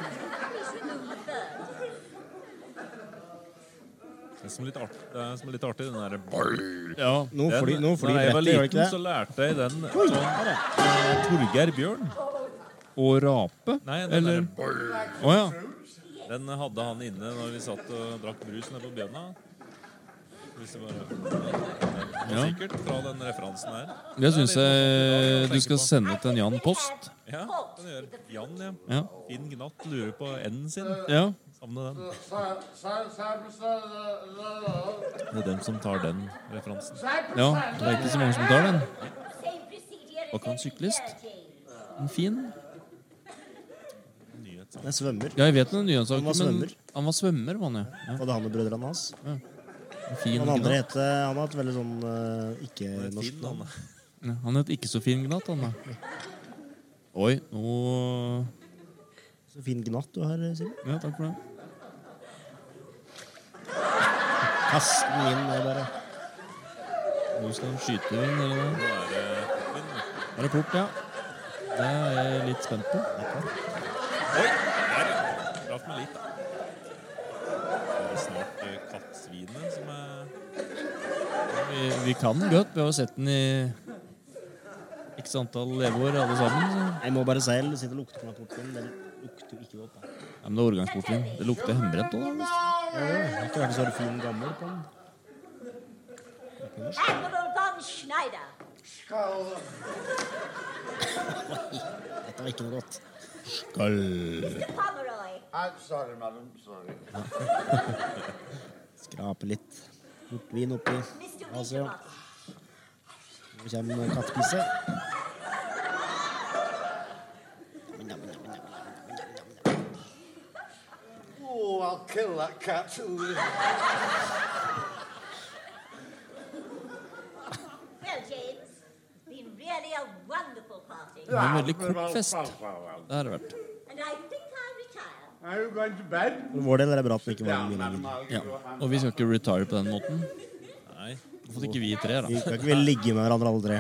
Speaker 7: Please remove the bird.
Speaker 4: Det er som litt artig, det er som litt artig den derre
Speaker 1: Ja.
Speaker 3: Nå flyr nå flyr
Speaker 4: Da jeg var
Speaker 3: brettet, gjør det
Speaker 4: liten,
Speaker 3: ikke
Speaker 4: så
Speaker 3: det?
Speaker 4: lærte jeg den av eh, Torgeir Bjørn.
Speaker 1: Og rape?
Speaker 4: Nei, den
Speaker 1: Eller
Speaker 4: derre
Speaker 1: Å ja.
Speaker 4: Den hadde han inne når vi satt og drakk brus nede på Bjørna. Hvis det bare Det var
Speaker 1: Ja.
Speaker 4: Sikkert fra den referansen her.
Speaker 1: Det syns jeg du skal sende til en Jan Post.
Speaker 4: Ja, den gjør Jan, ja.
Speaker 1: Ja.
Speaker 4: Finn Gnatt lurer på n-en sin.
Speaker 1: ja.
Speaker 4: Savner den.
Speaker 6: Some- some- some- some-
Speaker 4: Det er dem som tar den referansen.
Speaker 1: Ja, det er ikke så mange som tar den.
Speaker 7: Same procedure as
Speaker 1: Og kan
Speaker 7: every
Speaker 1: syklist.
Speaker 7: year, James.
Speaker 1: En fin.
Speaker 4: Nyhetssak.
Speaker 3: Den svømmer.
Speaker 1: Ja, jeg vet den nyansaken,
Speaker 3: Han var
Speaker 1: men
Speaker 3: svømmer.
Speaker 1: han var svømmer, var han ja.
Speaker 3: Både han og brødrene hans.
Speaker 1: ja. En fin
Speaker 3: Han andre
Speaker 1: gnatt.
Speaker 3: heter Han har et veldig sånn eh,
Speaker 4: Det er
Speaker 3: ikke-norsk
Speaker 4: Finn,
Speaker 3: navn.
Speaker 4: han.
Speaker 1: Ja, Han het ikke så fin gnatt, han da. Oi, nå
Speaker 3: Så fin gnatt du har, Simen.
Speaker 1: Ja, takk for det.
Speaker 3: Kast den inn og bare
Speaker 1: Nå skal han skyte inn, eller noe.
Speaker 4: Nå er det Finn.
Speaker 1: Er det port, ja? Det er jeg litt spent på.
Speaker 4: Oi! Der, ja. Traff meg litt, da. Så er det snart eh, kattsvinet som er
Speaker 1: Vi, vi kan den godt. Vi har jo sett den i x antall leveår, alle sammen. Så.
Speaker 3: Jeg må bare si det sitter og lukter på meg portvin. Den lukter jo ikke godt. da.
Speaker 1: Ja, men det er årgangsportvin. Det lukter hjemmebrent òg, da.
Speaker 3: Jeg har ikke vært så fin gammel på den.
Speaker 7: Admiral von Schneider.
Speaker 6: some-
Speaker 3: Dette var ikke noe godt.
Speaker 7: Mr. Pomeroy.
Speaker 6: I'm sorry, madam, sorry.
Speaker 3: Skrape litt portvin oppi.
Speaker 7: Mr.
Speaker 3: Altså,
Speaker 7: Winterbottom.
Speaker 3: nå kommer kattepisset.
Speaker 6: Oh, Oh, I'll kill that cat.
Speaker 7: Well, James, it's been really a wonderful party.
Speaker 1: Det var er en veldig kort fest. Det har det vært.
Speaker 7: And I think I'll retire.
Speaker 6: Are you going to bed?
Speaker 3: For vår del er det bra at den ikke var
Speaker 6: Down,
Speaker 3: mine
Speaker 6: madam. I'll give
Speaker 1: Ja.
Speaker 6: you a hand.
Speaker 1: Og vi skal ikke retire på den måten.
Speaker 4: Nei.
Speaker 1: Hvorfor ikke vi tre,
Speaker 3: Vi
Speaker 1: da?
Speaker 3: kan ikke vi ligge med hverandre alle tre.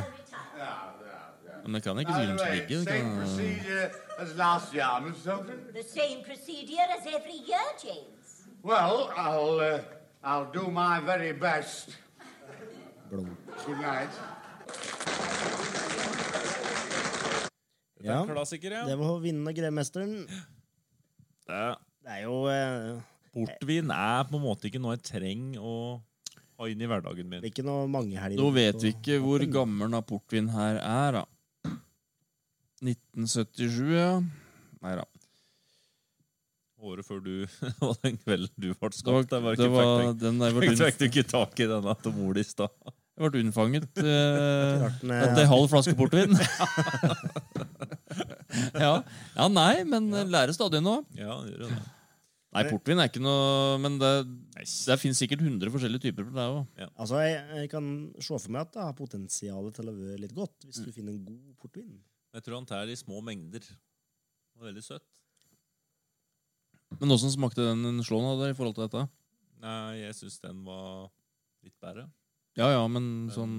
Speaker 1: Men det kan ikke
Speaker 6: By the
Speaker 1: sikkert
Speaker 6: way,
Speaker 1: ligge. Det
Speaker 6: same
Speaker 1: kan...
Speaker 6: procedure as last yarn or something?
Speaker 7: The same procedure as every year, James.
Speaker 6: Well, I'll, uh, I'll do my very best.
Speaker 3: Blom.
Speaker 6: Good night.
Speaker 3: Ja,
Speaker 4: Klassiker, ja.
Speaker 3: det var å vinne Grevmesteren.
Speaker 4: Det-
Speaker 3: Det er jo eh,
Speaker 4: Portvin er på en måte ikke noe jeg trenger å ha inn i hverdagen
Speaker 3: det er
Speaker 4: min.
Speaker 3: ikke noe mange helger.
Speaker 1: Nå vet vi ikke hvor gammel da portvin her er, da. 1977, ja. Nei da.
Speaker 4: Året før du og den kvelden du ble
Speaker 1: Det var,
Speaker 4: skapt. Det var
Speaker 1: det
Speaker 4: ikke
Speaker 1: var,
Speaker 4: var...
Speaker 1: den der
Speaker 4: Jeg
Speaker 1: ble,
Speaker 4: fikk du ikke tak i denne til mor di i stad.
Speaker 1: ble unnfanget eh,
Speaker 3: Den,
Speaker 1: At
Speaker 3: eh,
Speaker 1: det er halv flaske portvin. ja. ja, nei, men lærer stadig noe.
Speaker 4: Ja, den gjør jo det.
Speaker 1: Nei, portvin er ikke noe Men det, det fins sikkert 100 forskjellige typer på det òg.
Speaker 3: Altså, jeg, jeg kan se for meg at det har potensial til å være litt godt hvis
Speaker 1: Mm.
Speaker 3: du finner en god portvin.
Speaker 4: Jeg tror han tær i små mengder. Det var veldig søtt.
Speaker 1: Men åssen smakte den slåen hadde i forhold til dette?
Speaker 4: Nei, jeg syns den var litt bedre.
Speaker 1: Ja ja, men sånn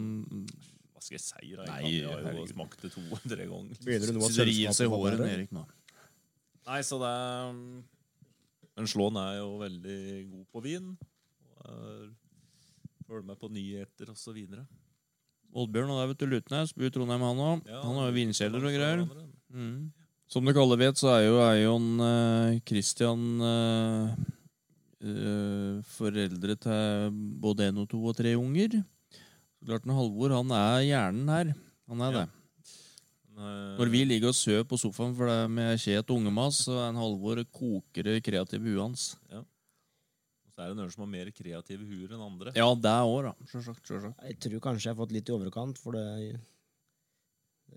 Speaker 4: Hva skal jeg si? da?
Speaker 1: Nei,
Speaker 4: Jeg har jo
Speaker 1: herregud.
Speaker 4: smakt det to-tre ganger.
Speaker 3: Begynner du nå at
Speaker 1: Sitter og river seg i
Speaker 3: sølvskapet var
Speaker 1: håret,
Speaker 3: bedre?
Speaker 1: Erik, nå.
Speaker 4: Nei, så det er Men Slåen er jo veldig god på vin. Og er- Følger med på nyheter og så videre.
Speaker 1: Oddbjørn og der, vet du, Lutnes bor i Trondheim, han òg.
Speaker 4: Ja,
Speaker 1: han har jo vinkjeller og greier.
Speaker 4: Hverandre.
Speaker 1: Mm. Som dere alle vet, så er jo Eion eh, Christian eh, eh, foreldre til både en og to og tre unger. Så klart den Halvor, han er hjernen her. Han er det.
Speaker 4: Men, eh,
Speaker 1: Når vi ligger og sover på sofaen for det med kje til ungemas, så er en Halvor koker det kreative huet hans.
Speaker 4: Så er det noen som har mer kreative huer enn andre.
Speaker 1: Ja, det òg, da. Sjølsagt. sjølsagt.
Speaker 3: Jeg tror kanskje jeg har fått litt i overkant, for det,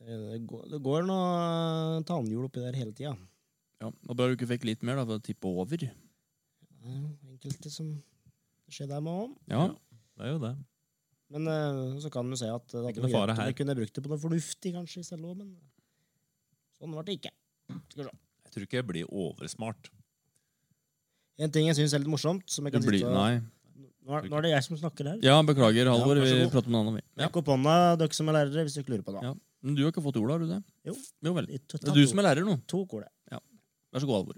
Speaker 3: det, går, det går noe tannhjul oppi der hele tida.
Speaker 1: Ja, det var Bra du ikke fikk litt mer, da, for å tippe over.
Speaker 3: Enkelte som skjer der med òg.
Speaker 1: Ja.
Speaker 4: Det er jo det.
Speaker 3: Men eh, så kan du si at det
Speaker 4: Ikke
Speaker 3: hadde
Speaker 4: noe
Speaker 3: vært
Speaker 4: fare
Speaker 3: greit om
Speaker 4: her.
Speaker 3: jeg kunne brukt det på noe fornuftig, kanskje, i stedet også, men sånn ble det ikke. Skal vi se.
Speaker 4: Jeg tror ikke jeg blir oversmart.
Speaker 3: En ting jeg syns er litt morsomt som jeg
Speaker 1: Det
Speaker 3: kan
Speaker 1: blir,
Speaker 3: sitte og-
Speaker 1: nei.
Speaker 3: nå, er- nå er det jeg som snakker her.
Speaker 1: Ja, beklager, Halvor.
Speaker 3: Ja, vær så
Speaker 1: vi
Speaker 3: god.
Speaker 1: prater om noe annet, vi. Ja.
Speaker 3: Rekk opp hånda, dere som er lærere, hvis dere lurer på det.
Speaker 1: Ja. Men du har ikke fått ordet, har du det?
Speaker 3: Jo.
Speaker 1: Jo vel.
Speaker 3: Litt-
Speaker 1: Det er du som er lærer nå.
Speaker 3: To kor, det.
Speaker 1: Vær så god, Halvor.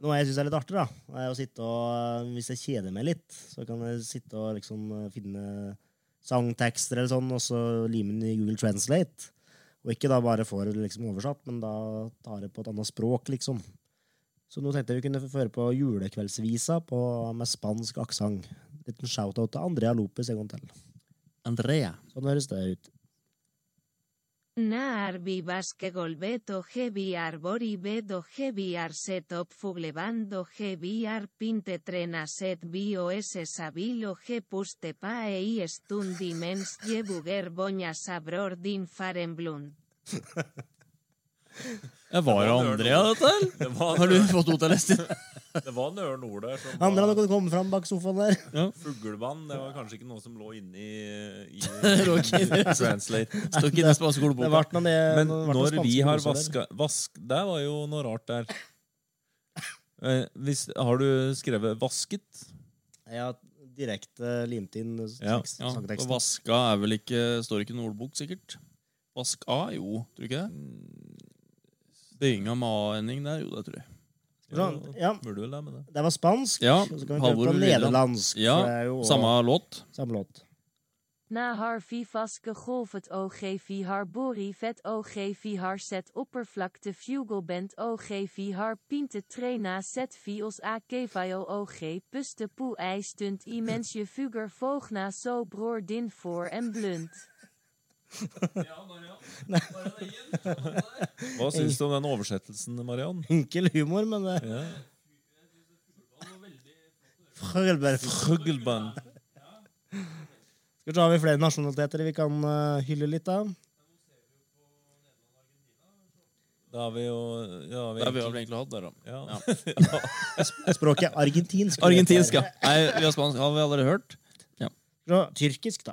Speaker 3: Noe jeg syns er litt artig, da, er å sitte og Hvis jeg kjeder meg litt, så kan jeg sitte og liksom finne sangtekster eller sånn, og så lime den i Google Translate. Og ikke da bare får det liksom oversatt, men da tar jeg på et annet språk, liksom. Så nå tenkte jeg vi kunne få høre på julekveldsvisa på, med spansk aksent. Liten shout-out til Andrea Lopez en gang til.
Speaker 1: Andrea.
Speaker 3: Sånn høres det ut.
Speaker 8: Naar Vivasquegol Beto Heviar Bori Bedo Heviar Setop Fuglevando Heviar Pinte Trenaset Bio S Sabilo G Pustepae I Stundimens Jebuger Boña Sabror Din Farenblund.
Speaker 1: Ja, var det Andrea, dette? eller?
Speaker 4: Det var,
Speaker 1: Har du fått henne til å lese det?
Speaker 4: det var en ørn ord der som
Speaker 3: Andrea, nå
Speaker 4: var
Speaker 3: kan du komme fram bak sofaen der.
Speaker 4: fuglevann. Det var kanskje ikke noe som lå inni i,
Speaker 1: lå ikke i det.
Speaker 4: Translate.
Speaker 1: Står ikke i den spanske
Speaker 3: Det
Speaker 1: ordboka.
Speaker 3: vart noe ned-
Speaker 4: Men
Speaker 3: det vart noe
Speaker 4: når
Speaker 3: spanske
Speaker 4: vi har
Speaker 3: roser der.
Speaker 4: vaska vask, Det var jo noe rart der. Eh, hvis, har du skrevet 'vasket'?
Speaker 3: Ja, direkte limt inn tekst,
Speaker 4: Ja,
Speaker 1: Ja, og
Speaker 3: sangteksten.
Speaker 1: vaska er vel ikke Står ikke i noen ordbok, sikkert? Vask A, jo. Tror du ikke det? Bygging av ma-ending der, jo, det tror jeg.
Speaker 3: Sånn, ja,
Speaker 4: Burde vel det med det.
Speaker 3: det var spansk,
Speaker 1: Ja,
Speaker 3: og så kan vi
Speaker 1: Halvor
Speaker 3: prøve på
Speaker 1: Vigeland.
Speaker 3: nederlandsk.
Speaker 1: Ja,
Speaker 3: for det er jo også
Speaker 1: samme låt.
Speaker 3: samme låt.
Speaker 9: Nahar vivaske golf het OG vihar bori vet OG vihar set oppervlakte fugelband OG vihar pinte trena set vios a kevaio OG puste poe ei stunt immens je fuger vogna so broer din voor en blunt.
Speaker 4: Hva syns du om den oversettelsen, Mariann?
Speaker 3: Enkel humor, men eh, det
Speaker 4: Ja.
Speaker 3: Frølberg.
Speaker 4: Fugleband.
Speaker 3: Skal vi se, har vi flere nasjonaliteter vi kan eh, hylle litt av?
Speaker 4: Da har vi jo ja, vi
Speaker 1: Det har vi vel egentlig hatt der, da.
Speaker 4: ja.
Speaker 3: Språket er argentinsk.
Speaker 1: Argentinsk, ja. Nei, vi har spansk. Har vi allerede hørt?
Speaker 3: Så Tyrkisk, da.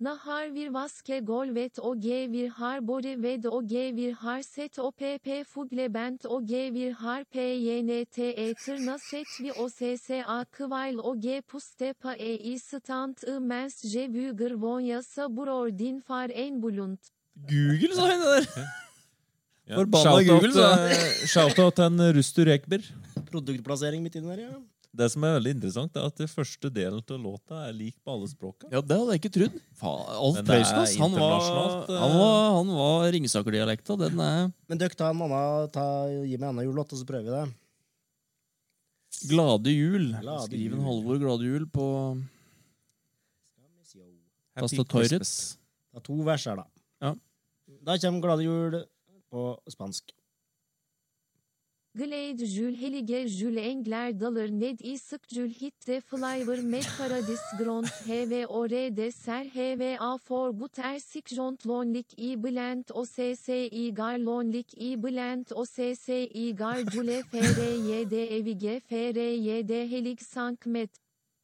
Speaker 10: Nahar vir vaske golvet og g vir har bore ved og g vir har set og pp fugle bent og g vir har pjnt tørna e set vi og cca kvail og g poste pa e i stant i mens je buger vonja sa bror din far en bulunt.
Speaker 1: Google, sa jeg det der!
Speaker 4: Ja.
Speaker 1: Forbanna
Speaker 4: Shout-out,
Speaker 1: Google, sa
Speaker 4: eh, Shout-out til en Rustur Ekber.
Speaker 3: Produktplassering midt inni der, ja.
Speaker 4: Det som er veldig interessant, er at det første delen til låta er lik på alle språka.
Speaker 1: Ja, det hadde jeg ikke trodd. Faen, Alf
Speaker 4: Men det er
Speaker 1: Prøysen, ass. Han var,
Speaker 4: internasjonalt, eh.
Speaker 1: han var, han var Ringsaker-dialekta. Den er
Speaker 3: Men dere, ta en annen, ta, gi meg en annen julelåt, og så prøver vi det.
Speaker 1: Glade jul.
Speaker 3: Glade
Speaker 1: Skriv en
Speaker 3: jul.
Speaker 1: Halvor Glade jul på tastaturet.
Speaker 3: Det er to vers her, da.
Speaker 1: Ja.
Speaker 3: Da kommer Glade jul på spansk.
Speaker 10: Glade jul helige jul engler daler ned i sık jul hitre flyver med paradis gront heve orede ser heve a for gut ersik jont lonlik i blent o ss i gar lonlik i blent o ss i gar jule fere yede evige fere yede helik sank met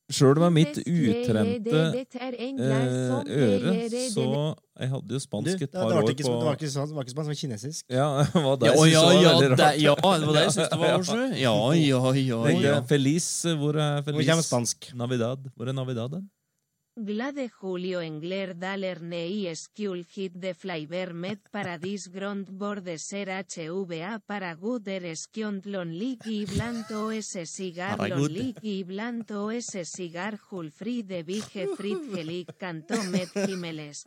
Speaker 4: Sjøl med mitt
Speaker 10: Fest
Speaker 4: utrente
Speaker 10: lede deter engler
Speaker 4: eh,
Speaker 10: som
Speaker 4: øre,
Speaker 10: pere
Speaker 4: så
Speaker 10: dele-
Speaker 4: Jeg hadde jo
Speaker 3: Du,
Speaker 4: spansk
Speaker 3: det,
Speaker 4: et
Speaker 3: det,
Speaker 4: par
Speaker 3: var
Speaker 4: år
Speaker 3: ikke,
Speaker 4: på
Speaker 3: det var ikke spansk, det var ikke spansk, det var kinesisk.
Speaker 4: Ja, hva da?
Speaker 1: Ja,
Speaker 4: Jeg
Speaker 1: ja,
Speaker 4: synes det
Speaker 1: ja,
Speaker 4: var veldig
Speaker 1: det,
Speaker 4: rart.
Speaker 1: ja, det var det jeg syntes det var, Oslo. Ja, ja, ja,
Speaker 4: Tenkte
Speaker 1: ja.
Speaker 4: jeg, Feliz, hvor er
Speaker 3: Nå kommer
Speaker 4: Feliz?
Speaker 3: spansk.
Speaker 4: Navidad. Hvor er Navidad? Den?
Speaker 8: Glade Julio Engler Daler Nei Skull Hit de Flyver Med Paradis Grond Borde Ser HVA para Guder Eskiont Lonlik y Blanto S Sigar
Speaker 1: Para
Speaker 8: Lonlik y Blanto S Sigar Julfri de Vige Frit Gelic Cantó Met Jiménez.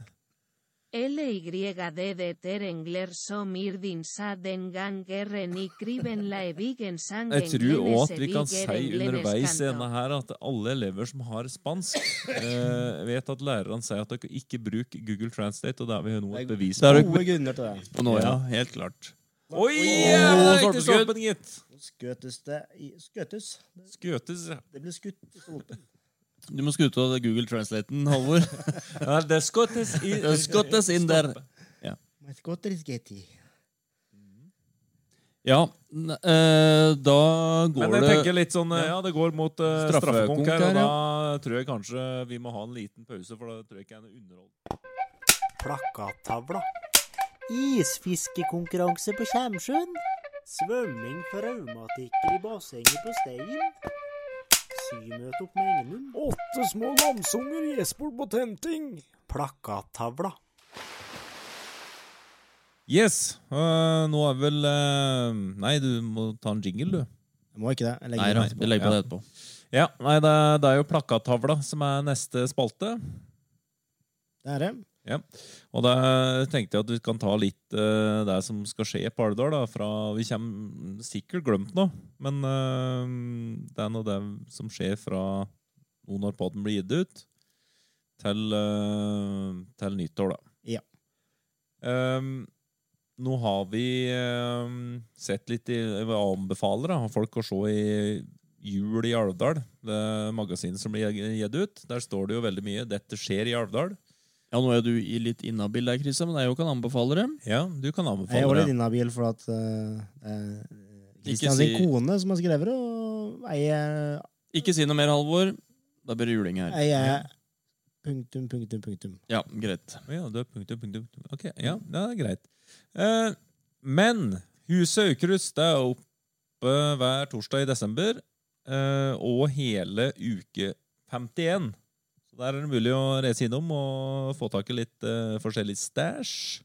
Speaker 8: LYD de Ter Engler Som Irdin Saden Gangerren i Kriven La Evigen Sang
Speaker 4: Jeg tror òg
Speaker 8: Englenes
Speaker 4: at vi kan si
Speaker 8: Eviger Englenes
Speaker 4: underveis i
Speaker 8: Cantó.
Speaker 4: denne her at alle elever som har spansk, eh, vet at lærerne sier at dere ikke bruker Google Translate, og det er vi nå et bevis på.
Speaker 3: Gode grunner til det.
Speaker 1: På nå, ja. Helt klart.
Speaker 4: Oi!
Speaker 1: Åh,
Speaker 4: jævla ekte
Speaker 1: stolpeskudd.
Speaker 4: stolpen, gitt!
Speaker 3: Skøtes det i Skøtes?
Speaker 4: Skøtes. ja.
Speaker 3: Det blir skutt i stolpen.
Speaker 1: Du må skru ut av Google Translaten, Halvor.
Speaker 4: Ja, det skøtes i
Speaker 1: Det skottes inn der.
Speaker 3: Men skøter is getty.
Speaker 1: Ja, n- eh, da
Speaker 4: Men
Speaker 1: går
Speaker 4: jeg
Speaker 1: det
Speaker 4: tenker litt sånn eh, Ja, det går mot uh, straffekonk her, og
Speaker 1: her,
Speaker 4: da tror jeg kanskje vi må ha en liten pause, for da tror jeg ikke jeg er noe underhold.
Speaker 11: plakattavla. Isfiskekonkurranse på Kjemsjøen. Svømming for revmatikere i bassenget på Stein. Symøte opp med Engenum. Åtte små lamsunger gjespol på tenting. Plakattavla.
Speaker 4: Yes! eh, nå er vel eh, Nei, du må ta en jingle, du.
Speaker 3: Jeg må ikke det. Jeg
Speaker 1: Nei
Speaker 3: legger
Speaker 1: da,
Speaker 3: det
Speaker 1: vi legger
Speaker 4: Ja.
Speaker 1: på det etterpå.
Speaker 4: Ja, nei, det er, det er jo plakattavla som er neste spalte.
Speaker 3: Det er det.
Speaker 4: Ja. Og da tenkte jeg at vi kan ta litt eh, det som skal skje i Pardal. da, fra- Vi kommer sikkert glemt noe, men eh, det er noe det som skjer fra nå når podden blir gitt ut, til, eh, til nyttår, da.
Speaker 3: Ja.
Speaker 4: Ehm, nå har vi ehm, sett litt i hva jeg anbefaler da, folk å se i Jul i Alvdal, det magasinet som blir gitt ut. Der står det jo veldig mye 'Dette skjer i Alvdal'.
Speaker 1: Ja, nå er du i litt inhabil der, Christian, men jeg jo kan anbefale det.
Speaker 4: Ja, du kan
Speaker 3: Jeg er
Speaker 4: anbefale
Speaker 3: også
Speaker 4: det.
Speaker 3: litt inhabil for at eh, eh, Kristian
Speaker 1: si-
Speaker 3: sin kone som har skrevet det, og jeg er-
Speaker 1: Ikke si noe mer, Halvor. Da blir det juling her.
Speaker 3: jeg er Punktum, punktum, punktum.
Speaker 1: Ja, greit.
Speaker 4: Å Ja, det er punktum, punktum. punktum. Ok, ja, det er greit. Eh, men Huset Aukrust det er oppe hver torsdag i desember, eh, og hele uke 51. Så der er det mulig å reise innom og få tak i litt eh, forskjellig stæsj.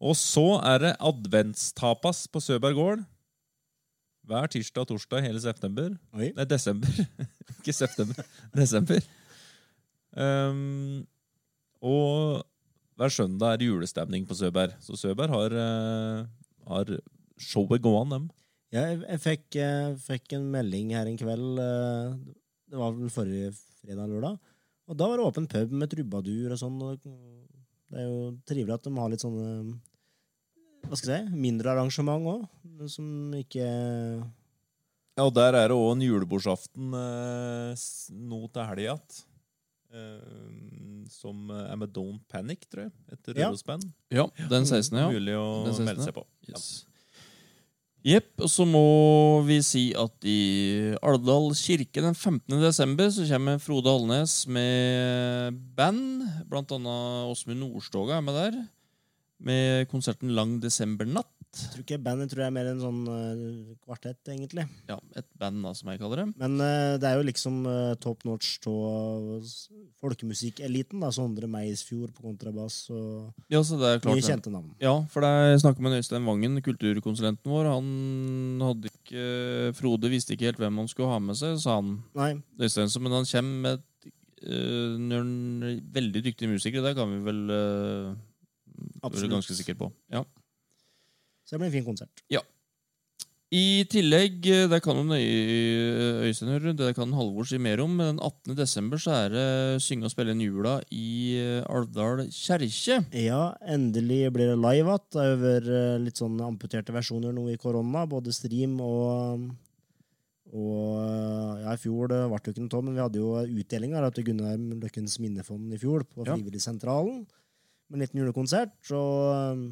Speaker 4: Og så er det adventstapas på Søberg gård. Hver tirsdag og torsdag hele september.
Speaker 3: Oi.
Speaker 4: Nei, desember. Ikke september. Desember. Ehm, og hver søndag er det julestemning på Søberg. Så Søberg har, eh, har showet gående, dem.
Speaker 3: Ja, jeg, jeg fikk, eh, fikk en melding her en kveld, eh, det var vel forrige fredag eller lørdag, og da var det åpen pub med trubadur og sånn, og det er jo trivelig at de har litt sånne, hva skal jeg si, mindre arrangement også, som ikke,
Speaker 4: Ja, og der er det òg en julebordaften eh, s- nå til helga igjen. Eh, som er med Don't Panic, tror jeg. Et
Speaker 3: Ja.
Speaker 4: rørosband.
Speaker 1: Ja, den 16., ja.
Speaker 4: Mulig å
Speaker 1: Den 16.
Speaker 4: melde seg på.
Speaker 1: Yes. Jepp. Og så må vi si at i Alvdal kirke den 15. desember så kommer Frode Alnes med band. Blant annet Åsmund Nordstoga er med der. Med konserten Lang desembernatt.
Speaker 3: Tror ikke bandet tror jeg er mer en sånn eh, kvartett, egentlig.
Speaker 1: Ja, et band, da, som jeg kaller det.
Speaker 3: Men eh, det er jo liksom eh, top notch av s- folkemusikkeliten. da, Sondre Meisfjord på kontrabass og
Speaker 1: Ja, så det er klart
Speaker 3: mye
Speaker 1: det.
Speaker 3: kjente navn.
Speaker 1: Ja, for jeg snakka med Øystein Vangen, kulturkonsulenten vår. Han hadde ikke Frode visste ikke helt hvem han skulle ha med seg, sa han.
Speaker 3: Nei,
Speaker 1: Øystein, så- men han kommer med et, øh, når han- veldig dyktige musikere. Det kan vi vel øh, være
Speaker 3: Absolutt.
Speaker 1: ganske sikre på. Ja.
Speaker 3: Så det blir en fin konsert.
Speaker 1: I tillegg, øh, det kan jo nøye eh, Øystein høre, det kan Halvor si mer om, men den 18. desember så er det synge og spille inn jula i øh, Alvdal kjerke.
Speaker 3: Ja, endelig blir det live igjen. Det er jo vært eh, litt sånn amputerte versjoner nå i korona. Både stream og og eh, ja, I fjor det ble det jo ikke noe av, men vi hadde jo utdelinga til Gunnar Løkkens minnefond i fjor på
Speaker 1: Ja.
Speaker 3: Frivilligsentralen. Med en liten julekonsert. Og eh,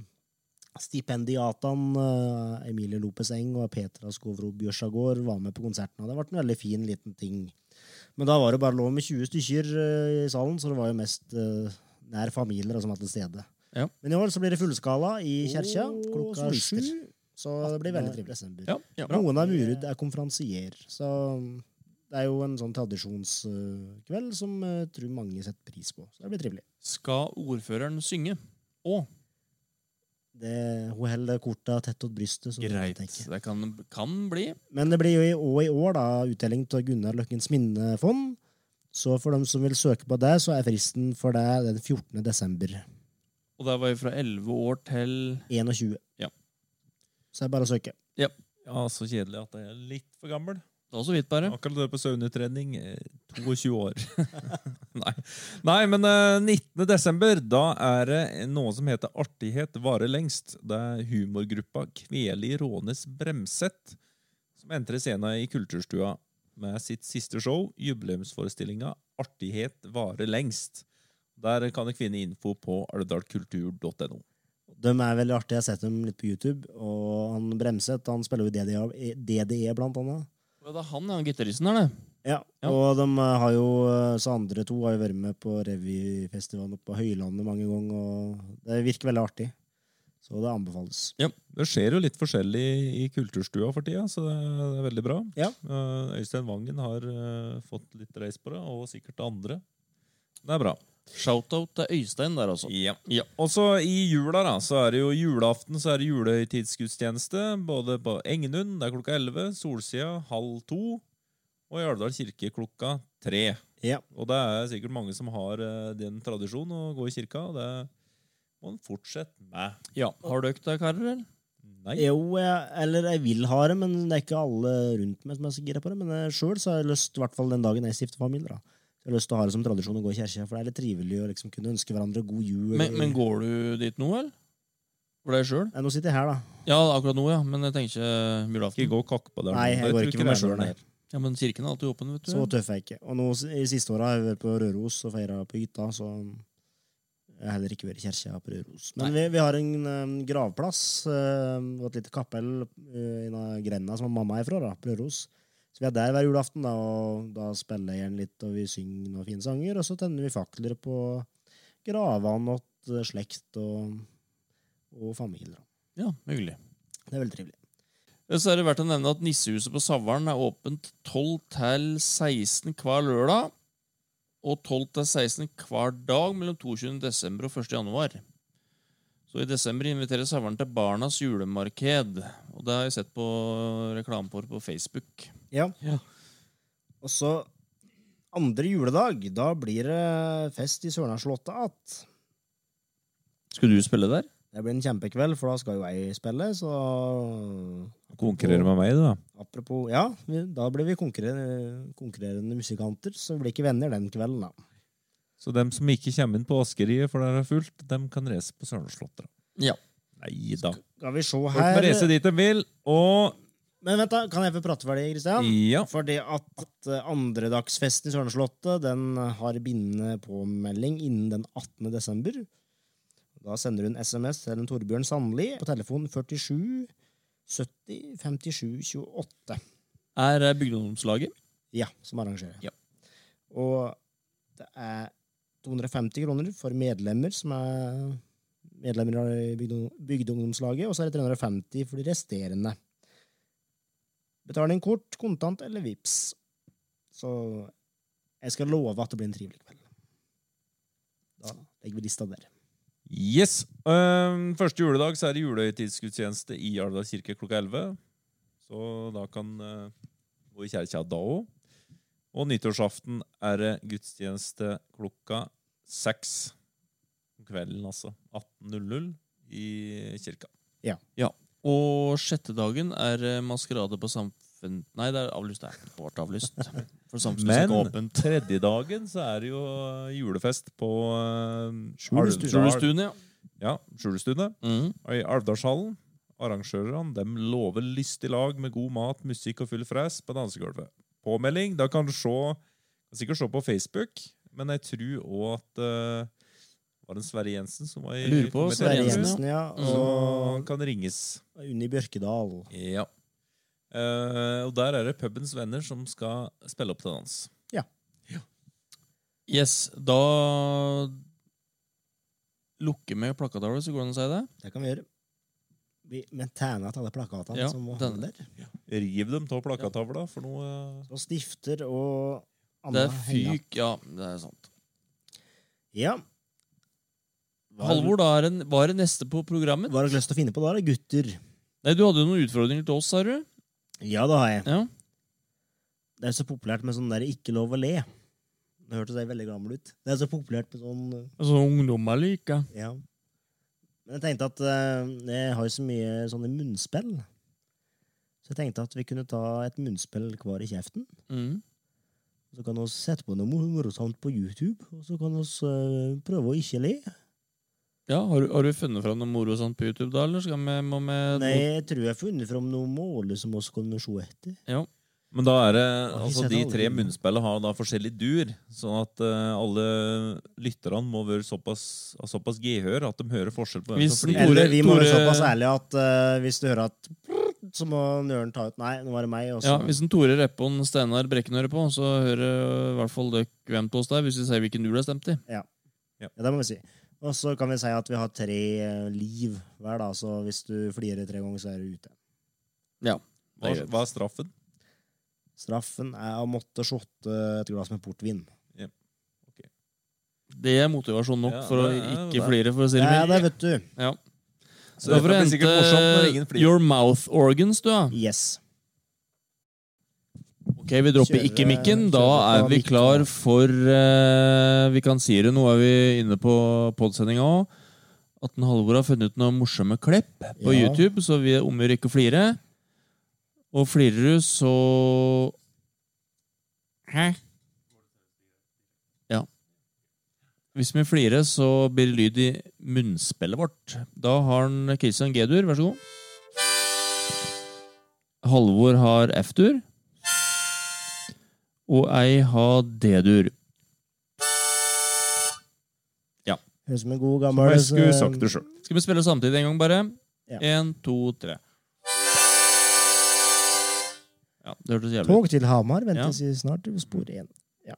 Speaker 3: stipendiatene eh, Emilie Lopez Eng og Petra Skovro Bjørsagård var med på konserten. Og det ble en veldig fin, liten ting. Men da var det bare lov med 20 stykker eh, i salen, så det var jo mest eh, nær familier og som var til stede.
Speaker 1: Ja.
Speaker 3: Men i år så blir det fullskala i kjerka
Speaker 1: Åh,
Speaker 3: klokka
Speaker 1: så
Speaker 3: sju.
Speaker 1: lyster.
Speaker 3: Så det blir veldig trivelig. Desember.
Speaker 1: Ja, ja, bra.
Speaker 3: Noen av Murud er konferansier, så um, det er jo en sånn tradisjonskveld eh, som jeg tror mange setter pris på. Så det blir trivelig.
Speaker 1: Skal ordføreren synge? Å,
Speaker 3: Det, hun holder korta tett til brystet. så det
Speaker 1: greit.
Speaker 3: tenker jeg.
Speaker 1: Det kan, kan bli.
Speaker 3: Men det blir jo i år, i år da, utdeling til Gunnar Løkkens minnefond. Så for dem som vil søke på det, så er fristen for det den 14. desember
Speaker 1: Og der var jeg fra 11 år til
Speaker 3: 21.
Speaker 1: Ja.
Speaker 3: Så det er bare å søke.
Speaker 1: Ja.
Speaker 4: Ja, så kjedelig at jeg er litt for gammel.
Speaker 1: Da så vidt, bare.
Speaker 4: Akkurat det på søvnutredning. eh, 22 år. Nei. Nei, men eh, 19. desember, da er det noe som heter Artighet varer lengst. Det er humorgruppa Kveli Rånes Bremset som entrer scenen i Kulturstua med sitt siste show, jubileumsforestillinga Artighet varer lengst. Der kan dere finne info på alvdalkultur.no.
Speaker 3: De er veldig artige. Jeg har sett dem litt på YouTube. Og han Bremset han spiller jo i DDE, DDE E blant annet.
Speaker 1: Ja, Det er han, ja, han gitaristen her, det.
Speaker 3: Ja,
Speaker 1: Ja.
Speaker 3: og de eh, har jo, eh, så andre to har jo vært med på revyfestivalen oppe på Høylandet mange ganger, og det virker veldig artig. Så det anbefales.
Speaker 4: Det skjer jo litt forskjellig i kulturstua for tida, så det er veldig bra.
Speaker 3: Ja.
Speaker 4: Eh, Øystein Vangen har eh, fått litt reis på det, og sikkert andre. Det er bra.
Speaker 1: Shoutout til Øystein der, altså.
Speaker 4: Ja. Og så i jula, da, så er det jo julaften, så er det julehøytidsgudstjeneste. Både på Engenund, det er klokka 11, Solsida halv to, og i Alvdal kirke klokka tre.
Speaker 3: Ja.
Speaker 4: Og det er sikkert mange som har eh, den tradisjonen å gå i kirka, og det må en fortsette med.
Speaker 1: Ja, Har dere det, karer? eller?
Speaker 4: Nei.
Speaker 3: Jo, jeg, eller jeg vil ha det, men det er ikke alle rundt meg som er så gira på det. Men sjøl har jeg lyst, i hvert fall den dagen jeg stifter familie, da. Så Jeg har lyst til å ha det som tradisjon å gå i kirka, for det er litt trivelig å liksom kunne ønske hverandre god jul.
Speaker 1: Men, men går du dit nå, eller? For deg sjøl?
Speaker 3: Nei, Eh, nå sitter jeg her, da.
Speaker 1: Ja, akkurat nå, ja. Men jeg tenker ikke
Speaker 4: Ikke
Speaker 1: julaften.
Speaker 4: gå kakk på det.
Speaker 3: Mm.
Speaker 4: sånn
Speaker 3: Nei, jeg går ikke med meg sjøl, nei.
Speaker 1: Ja, men kirken er alltid åpen, vet
Speaker 3: Så
Speaker 1: du.
Speaker 3: tøff er jeg ikke. Og nå s- i siste åra har jeg vært på Røros og feira på hytta, så jeg har heller ikke vært i kjerka på Røros. Men vi, vi har en em, gravplass em, og et lite kapell eh, i den grenda som mamma er fra, da, på Røros. Så vi er der hver julaften, da, og da spiller jeg gjerne litt, og vi synger noen fine sanger, og så tenner vi fakler på gravene til slekt og, og familier. da.
Speaker 1: Ja, hyggelig.
Speaker 3: Det er veldig trivelig.
Speaker 1: Så er det verdt å nevne at Nissehuset på Savaren er åpent 12 til 16 hver lørdag. Og 12 til 16 hver dag mellom 22. desember og 1. januar. Så i desember inviterer Savaren til Barnas julemarked. Og det har jeg sett på reklame for på Facebook.
Speaker 3: Ja.
Speaker 1: Ja.
Speaker 3: Og så andre juledag, da blir det fest i Sørlandsslottet att.
Speaker 1: Skulle du spille der?
Speaker 3: Det blir en kjempekveld, for da skal jo jeg spille, så
Speaker 4: Konkurrere med meg, du, da.
Speaker 3: Apropos Ja, vi, da blir vi konkurrerende, konkurrerende musikanter, så vi blir ikke venner den kvelden, da.
Speaker 4: Så dem som ikke kommer inn på Askeriet, for der er fullt, dem kan reise på Sørlandsslottet.
Speaker 1: Ja.
Speaker 4: Nei da.
Speaker 3: Skal vi se
Speaker 4: Folk må
Speaker 3: her
Speaker 4: reise dit de vil, og
Speaker 3: Men vent, da. Kan jeg få prate ferdig, Kristian?
Speaker 4: ja.
Speaker 3: Fordi at, at eh, andredagsfesten i eh, Sørlandsslottet den har bindende påmelding innen den 18. desember. Da sender hun SMS til en Torbjørn Sandli på telefon 47 70 57 28.
Speaker 1: Er eh, det Bygdeungdomslaget?
Speaker 3: Ja, som arrangerer.
Speaker 1: Ja.
Speaker 3: Og det er 250 kroner for medlemmer som er medlemmer av bygde- bygdeungdomslaget, og så er det 350 for de resterende. Betaling kort, kontant eller vips. Så jeg skal love at det blir en trivelig kveld. Da legger vi lista der.
Speaker 4: Yes! Øhm, første juledag så er det julehøytidsgudstjeneste i Alvdal kirke klokka 11. Så da kan øh, gå i kjerka da òg. Og nyttårsaften er det gudstjeneste klokka seks om kvelden, altså. 18.00 i kirka.
Speaker 3: Ja.
Speaker 1: Og sjette dagen er eh, maskerade på samfunn... Nei, det er avlyst. Det er ikke avlyst. For samfunnet er ikke
Speaker 4: Men
Speaker 1: åpent.
Speaker 4: tredje dagen så er det jo øh, julefest på øh,
Speaker 3: Skjulestuen.
Speaker 4: Alvdal-
Speaker 1: Julestuen, ja.
Speaker 4: Ja, Skjulestuen.
Speaker 1: Mhm.
Speaker 4: Og I Alvdalshallen. Arrangørene dem lover lystig lag med god mat, musikk og full fres på dansegulvet. Påmelding da kan du se, kan sikkert se på Facebook, men jeg tror òg at eh, Var det en Sverre Jensen som var i
Speaker 1: Jeg lurer på
Speaker 4: komiteen?
Speaker 1: Sverre
Speaker 3: Sverre
Speaker 1: Jensen,
Speaker 3: Jensen, ja.
Speaker 1: Mm.
Speaker 4: Så
Speaker 3: Og
Speaker 4: kan ringes.
Speaker 3: Unni Bjørkedal.
Speaker 4: Ja. Eh, og der er det pubens venner som skal spille opp til dans.
Speaker 1: Yes, da lukker vi plakatavlet, så går det an å si det.
Speaker 3: Det kan vi gjøre. Vi, men tæna til alle plakatene
Speaker 1: Ja,
Speaker 3: som må
Speaker 1: den-
Speaker 3: handle der.
Speaker 4: Riv dem av plakatavla for noe eh,
Speaker 3: Og stifter og
Speaker 1: Det
Speaker 3: anna
Speaker 1: er
Speaker 3: henger.
Speaker 1: fyk, ja. Det er sant.
Speaker 3: Ja.
Speaker 1: Halvor, da er en, hva er det neste på programmet?
Speaker 3: Hva har dere lyst til å finne på da, da, gutter?
Speaker 1: Nei, Du hadde jo noen utfordringer til oss, sa du?
Speaker 3: Ja, det har jeg.
Speaker 1: Ja.
Speaker 3: Det er så populært med sånn der 'ikke lov å le'. Det hørtes jeg veldig gammel ut. Det er så populært med sånn
Speaker 1: Altså, ungdommer liker.
Speaker 3: Ja. Men jeg tenkte at eh, jeg har jo så mye sånne munnspill. Så jeg tenkte at vi kunne ta et munnspill hver i kjeften.
Speaker 1: Mm.
Speaker 3: Så kan vi sette på noe morsomt på YouTube, og så kan vi eh, prøve å ikke le.
Speaker 1: Ja, har, du- har du funnet fram noe moro og sånt på YouTube, da? Eller skal vi, må vi
Speaker 3: Nei, jeg tror jeg har funnet fram noe måle som vi kan se etter.
Speaker 4: Men da er det,
Speaker 3: Har vi
Speaker 4: altså
Speaker 3: sett
Speaker 4: De
Speaker 3: alle
Speaker 4: tre
Speaker 3: filmene?
Speaker 4: munnspillene har da forskjellig dur, sånn at eh, alle lytterne må være såpass, ha såpass gehør at de hører forskjell på hvem
Speaker 1: Hvis
Speaker 4: som
Speaker 1: den-
Speaker 4: flirer.
Speaker 1: Tore-
Speaker 3: Eller vi må være
Speaker 1: Tore-
Speaker 3: såpass ærlige at eh, hvis du hører at så må nøren ta ut Nei, nå var det meg. Og så,
Speaker 1: Ja, Hvis en Tore Reppon Steinar Brekken hører på, så hører i hvert fall dere hvem av oss det er, hvis vi sier hvilken du har stemt i.
Speaker 3: Ja, det må vi si. Og så kan vi si at vi har tre eh, liv hver, da, så hvis du flirer tre ganger, så er du ute.
Speaker 4: Hva, hva er straffen?
Speaker 3: Straffen er å måtte shotte et glass med portvin.
Speaker 1: Det er motivasjon nok
Speaker 4: Ja,
Speaker 1: for å
Speaker 4: det er jo
Speaker 1: ikke
Speaker 4: det.
Speaker 1: flire, for å si det
Speaker 3: Ja,
Speaker 1: mildt.
Speaker 3: det vet du.
Speaker 1: Ja.
Speaker 4: Så dette blir sikkert morsomt når ingen flirer.
Speaker 1: Your mouth organs, du, ja.
Speaker 3: Yes.
Speaker 1: Ok, vi dropper
Speaker 3: Kjøre-
Speaker 1: ikke mikken. Da
Speaker 3: kjøre
Speaker 1: er
Speaker 3: eh, på
Speaker 1: vi
Speaker 3: mikken,
Speaker 1: klar
Speaker 3: da.
Speaker 1: for eh, Vi kan si det, nå er vi inne på podsendinga òg. At en Halvor har funnet ut noen morsomme klipp
Speaker 3: Ja.
Speaker 1: på YouTube, så vi omgjør ikke å flire. Og flirer du, så Hæ? Ja. Hvis vi flirer, så blir det lyd i munnspillet vårt. Da har han Christian G-dur, vær så god. Halvor har F-dur. Og ei har D-dur.
Speaker 3: Høres ut som en god gammel eh,
Speaker 4: Jeg skulle sagt det sjøl.
Speaker 1: Skal vi spille samtidig en gang, bare?
Speaker 3: Ja.
Speaker 1: Én, to, tre. Ja, det hørtes jævlig ut.
Speaker 3: Tog til Hamar
Speaker 1: Ja.
Speaker 3: ventes i snart spor én. Ja.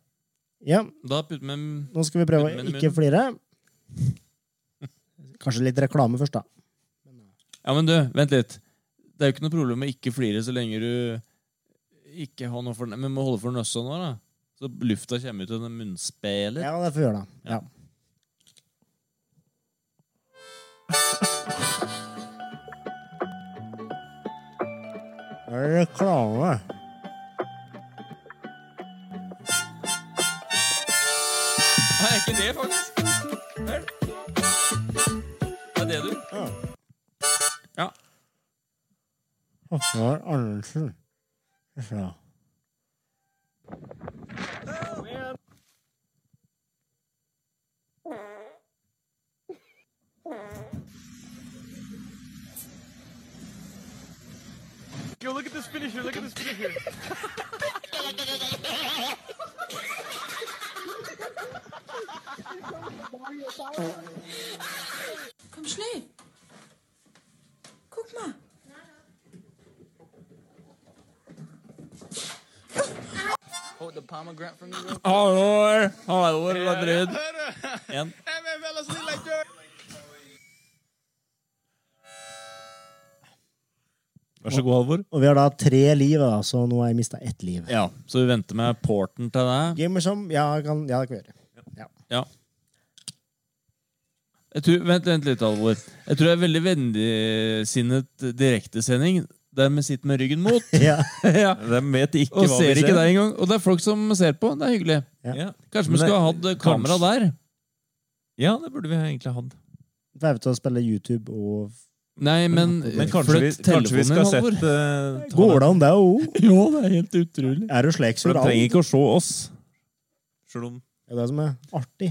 Speaker 3: ja,
Speaker 1: Da putter vi
Speaker 3: nå skal vi prøve
Speaker 1: Munnen
Speaker 3: å
Speaker 1: min i
Speaker 3: ikke
Speaker 1: munnen.
Speaker 3: flire. Kanskje litt reklame først, da.
Speaker 1: Ja, men du, vent litt. Det er jo ikke noe problem med ikke flire så lenge du ikke har noe for Men må holde for nøssa nå, da. Så lufta kommer ut av den munnspelet.
Speaker 3: Ja, det får vi gjøre, da. Ja. Er det Reklame.
Speaker 1: Nei, er ikke det, faktisk. Hør. Det er det, du. Ja.
Speaker 3: Håvard Andersen. Ja.
Speaker 12: Sleep. Guck mal.
Speaker 13: Hold the pomegranate for me real quick.
Speaker 1: Halvor! Halvor Ladrid. En.
Speaker 4: Vær så god, Halvor.
Speaker 3: Og vi har da tre liv, da, så nå har jeg mista ett liv.
Speaker 1: Ja, så vi venter med porten til deg.
Speaker 3: Gamer som Ja, jeg kan, ja det kan vi gjøre. Ja.
Speaker 1: Ja. Jeg tror, vent, vent litt, Alvor. Jeg tror det er veldig vennligsinnet direktesending. Der vi sitter med ryggen mot.
Speaker 3: ja.
Speaker 4: De vet ikke
Speaker 1: og
Speaker 4: hva
Speaker 1: ser
Speaker 4: vi
Speaker 1: ikke
Speaker 4: ser.
Speaker 1: deg engang. Og det er folk som ser på. Det er hyggelig.
Speaker 4: Ja.
Speaker 1: Kanskje
Speaker 4: Men
Speaker 1: vi skulle ha hatt
Speaker 4: det-
Speaker 1: kamera der?
Speaker 4: Ja, det burde vi egentlig hatt.
Speaker 3: Da er vi til å spille YouTube og
Speaker 1: Nei, men,
Speaker 4: Men kanskje vi, kanskje vi skal sette eh, ta
Speaker 3: Går
Speaker 4: den.
Speaker 3: det an, det òg?
Speaker 1: Jo, det er helt utrolig.
Speaker 3: Er du slek
Speaker 4: For
Speaker 3: så
Speaker 4: de trenger ikke å se oss. Selv om
Speaker 3: Det er det som er artig.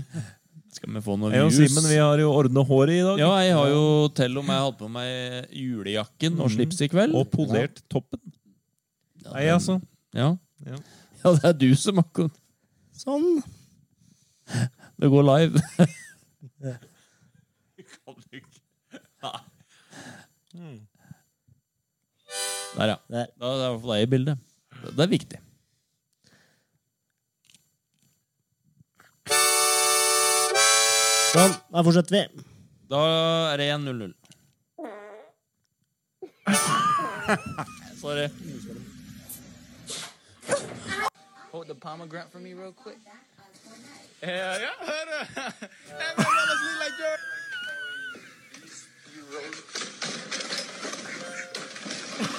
Speaker 1: Skal vi få noen
Speaker 4: Jeg og
Speaker 1: views?
Speaker 4: Simen vi har jo ordna håret i dag.
Speaker 1: Ja, jeg har jo til og med hatt på meg julejakken og slips i kveld.
Speaker 4: Mm. Og polert toppen. Nei, altså.
Speaker 1: Ja.
Speaker 4: Ja.
Speaker 1: ja, det er du som akkurat
Speaker 3: Sånn.
Speaker 1: Det går live. Der, ja.
Speaker 3: Der.
Speaker 1: Da er det i hvert fall deg i bildet. Det er viktig.
Speaker 3: Sånn. Da fortsetter vi.
Speaker 1: Da er det 1-0-0. Sorry.
Speaker 13: Hold the pomegranate for me real quick.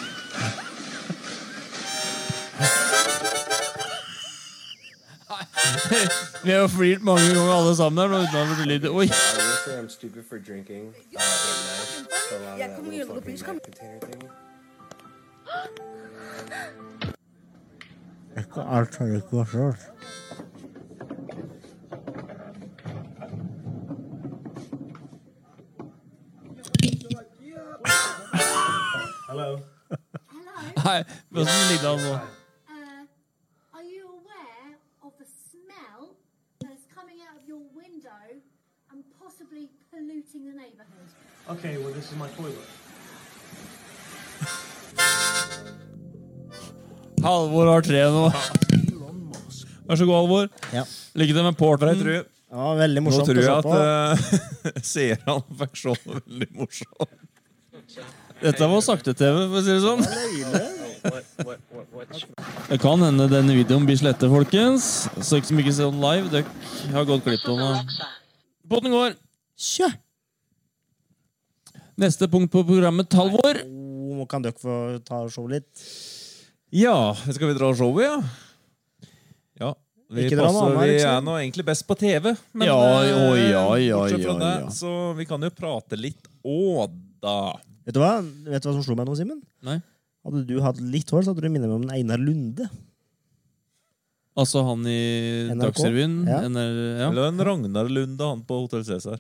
Speaker 1: Vi har jo flirt mange ganger alle sammen her, nå, uten at det blir lyd. Oi!
Speaker 14: I will say I'm stupid for drinking uh, at night. So out of
Speaker 12: Yeah,
Speaker 14: that
Speaker 12: come
Speaker 14: little
Speaker 12: here, little
Speaker 14: fucking
Speaker 12: bitch, come.
Speaker 14: night container thingy.
Speaker 3: Alt har ikke vært rart.
Speaker 2: Hello.
Speaker 1: Nei, men sånn ligger han nå.
Speaker 7: Uh, are you aware of the smell that is coming out of your window and possibly polluting the neighbourhood?
Speaker 2: Okay, well, this is my toilet.
Speaker 1: Halvor har tre nå. Vær så god, Halvor.
Speaker 3: Ja.
Speaker 1: Lykke til med porten.
Speaker 4: Jeg tror,
Speaker 3: Det var veldig
Speaker 4: nå
Speaker 3: morsomt
Speaker 4: tror jeg
Speaker 3: å se
Speaker 4: at
Speaker 3: på.
Speaker 4: eh, seerne fikk se noe veldig morsomt.
Speaker 1: Dette var sakte-TV, for å si det sånn.
Speaker 13: What, what, what, what?
Speaker 1: Det kan hende denne videoen blir slettet, folkens. Så ikke som ikke ser den live. Dere har gått glipp av noe. Båten går.
Speaker 3: Tja.
Speaker 1: Neste punkt på programmet, Halvor.
Speaker 3: Nå Oh, kan dere få ta og se litt.
Speaker 4: Ja, skal vi dra showet, ja? Ja. Vi,
Speaker 3: Ikke dra
Speaker 4: passer,
Speaker 3: noe annet,
Speaker 4: vi
Speaker 3: liksom.
Speaker 4: er nå egentlig best på TV, men
Speaker 1: Ja,
Speaker 4: eh,
Speaker 1: å, ja, ja,
Speaker 4: bortsett fra
Speaker 1: ja,
Speaker 4: det,
Speaker 1: ja.
Speaker 4: så vi kan jo prate litt å da.
Speaker 3: Vet du hva Vet du hva som slo meg nå, Simen?
Speaker 1: Nei.
Speaker 3: Hadde du hatt litt hår, så hadde du minnet meg om den Einar Lunde.
Speaker 1: Altså han i
Speaker 3: NRK?
Speaker 1: Dagsrevyen.
Speaker 3: Ja.
Speaker 1: NR, ja.
Speaker 4: Eller en Ragnar Lunde, han på Hotell Cæsar.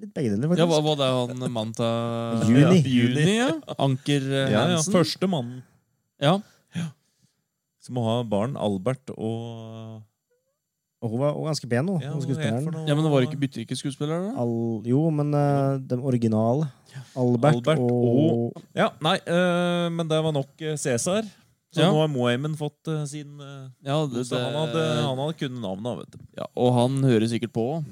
Speaker 3: Litt begge deler, faktisk.
Speaker 1: ja, hva var det han mannen til
Speaker 3: Juni.
Speaker 1: Ja, Juni, ja. Anker eh,
Speaker 4: Ja, ja.
Speaker 1: Hansen.
Speaker 4: Første mannen
Speaker 1: Ja.
Speaker 4: som må ha barn, Albert og
Speaker 3: Og hun var og ganske pen, hun,
Speaker 4: Ja,
Speaker 3: hun
Speaker 4: hva het for
Speaker 3: skuespilleren.
Speaker 4: noe?
Speaker 1: ja, men det var ikke butikkeskuespiller, da?
Speaker 3: Al, jo, men eh, den originale. Albert,
Speaker 4: Albert
Speaker 3: og,
Speaker 4: Ja, nei, eh, men det var nok eh, Cæsar. Så
Speaker 1: Ja.
Speaker 4: nå har Moaimen fått eh, sin eh,
Speaker 1: Ja, det,
Speaker 4: Så
Speaker 1: det,
Speaker 4: han hadde, han hadde kunnet navnet, vet du.
Speaker 1: ja, og han hører sikkert på òg.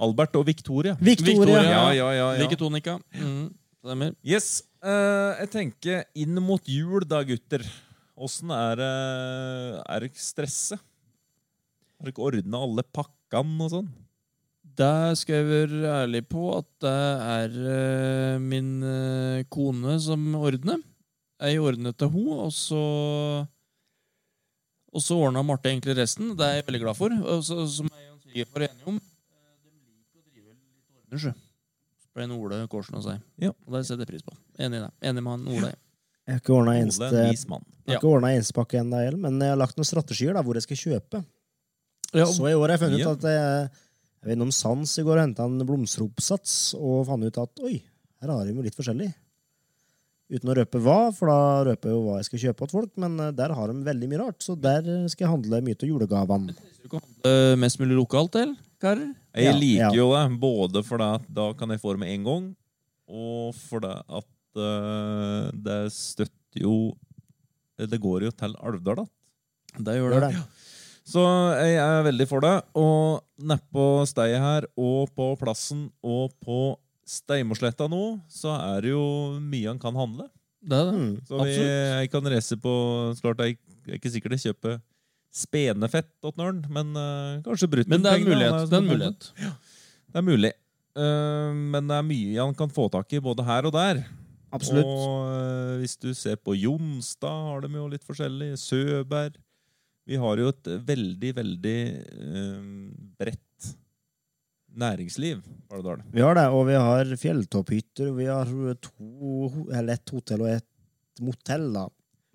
Speaker 4: Albert og Victoria.
Speaker 3: Victoria.
Speaker 4: Ja, ja, ja, ja.
Speaker 1: Like tonika. Mhm, Stemmer.
Speaker 4: Yes. eh, jeg tenker inn mot jul, da, gutter. Åssen er det Er dere stresset? Har dere ordna alle pakkene og sånn?
Speaker 1: Der skal jeg være ærlig på at det er eh, min eh, kone som ordner. Jeg ordner til hun, og så og så ordna Marte egentlig resten. Det er jeg veldig glad for. Og så, som jeg og svigerfar er enige om. eh, De liker å drive litt ordner, sjø. Ble en Ole Kårsen å si.
Speaker 4: Ja.
Speaker 1: Og det setter jeg pris på. Enig i det. Enig med han Ole.
Speaker 3: Jeg har ikke ordna
Speaker 4: Ole,
Speaker 3: eneste,
Speaker 4: en vis mann.
Speaker 3: jeg har ikke ordnet eneste pakke ennå, heller, men jeg har lagt noen strategier da, hvor jeg skal kjøpe.
Speaker 1: Ja,
Speaker 3: Så i år har jeg funnet ut
Speaker 4: Ja.
Speaker 3: at jeg, jeg var innom Sans i går og henta en blomsteroppsats, og fant ut at oi, her har de jo litt forskjellig. Uten å røpe hva, for da røper jeg jo hva jeg skal kjøpe til folk, men eh, der har de veldig mye rart, så der skal jeg handle mye av julegavene.
Speaker 1: eh, mest mulig lokalt, eller? karer?
Speaker 4: Jeg liker jo det, både fordi at da kan jeg få det med en gang, og fordi at eh, det støtter jo Det går jo til Alvdal igjen. Det gjør det.
Speaker 1: Gjør det.
Speaker 4: Ja. Så jeg er veldig for det. Og nedpå steiet her, og på plassen, og på Steimosletta nå, så er det jo mye han kan handle.
Speaker 1: Det er det. Mm,
Speaker 4: Så vi,
Speaker 1: absolutt.
Speaker 4: jeg kan reise på så Klart jeg jeg er ikke sikkert jeg kjøper spenefett til Nørn, men eh, kanskje brutt.
Speaker 1: Men det er
Speaker 4: penger,
Speaker 1: mulighet,
Speaker 4: han
Speaker 1: det er en
Speaker 4: sånn bonde.
Speaker 1: mulighet.
Speaker 4: Ja, det er mulig. Eh, men det er mye han kan få tak i, både her og der.
Speaker 3: Absolutt.
Speaker 4: Og eh, hvis du ser på Jonstad, har de jo litt forskjellig. Søberg. Vi har jo et veldig, veldig eh, bredt næringsliv. Vardødalen.
Speaker 3: Vi har det, og vi har fjelltopphytter, og vi har to, eller ett hotell og ett motell, da.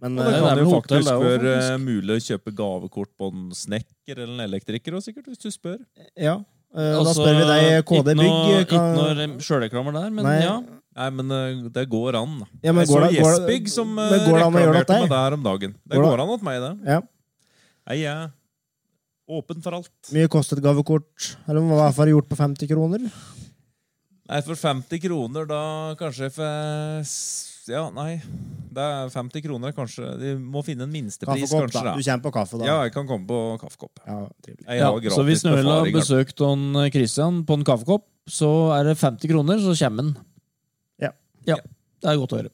Speaker 3: Men,
Speaker 4: og det
Speaker 3: eh,
Speaker 4: kan jo faktisk
Speaker 3: være
Speaker 4: være eh, mulig å kjøpe gavekort på en snekker eller en elektriker også, sikkert, hvis du spør.
Speaker 3: Ja. eh, da spør vi deg, KD Bygg
Speaker 1: Ikke
Speaker 3: hva-
Speaker 1: Altså, noe sjølreklamer der, men
Speaker 3: Nei.
Speaker 1: ja.
Speaker 4: Nei, men eh, det går an. da.
Speaker 3: Ja, men
Speaker 4: jeg
Speaker 3: går
Speaker 4: så
Speaker 3: det- går det-
Speaker 4: Jesbygg som eh,
Speaker 3: men går det an å gjøre det
Speaker 4: reklamerte meg
Speaker 3: til deg?
Speaker 4: der om dagen. Det
Speaker 3: Går
Speaker 4: går,
Speaker 3: det-
Speaker 4: an åt meg, det.
Speaker 3: Ja.
Speaker 4: Jeg er åpen for alt.
Speaker 3: Mye kostet gavekort, eller hva i hvert fall gjort på 50 kroner.
Speaker 4: Nei, for 50 kroner, da kanskje jeg får s- Ja, nei. Det er 50 kroner, kanskje. Du må finne en minstepris,
Speaker 3: Kaffekopp,
Speaker 4: kanskje.
Speaker 3: da.
Speaker 4: Da.
Speaker 3: Du kommer på kaffe, da.
Speaker 4: Ja, jeg kan komme på kaffekopp.
Speaker 3: Ja,
Speaker 4: jeg
Speaker 1: ja.
Speaker 4: har gratis
Speaker 1: Så hvis Nøhel har
Speaker 4: befaring, altså.
Speaker 1: besøkt han eh, Christian på en kaffekopp, så er det 50 kroner, så kommer han.
Speaker 3: Ja.
Speaker 1: Det er godt å høre.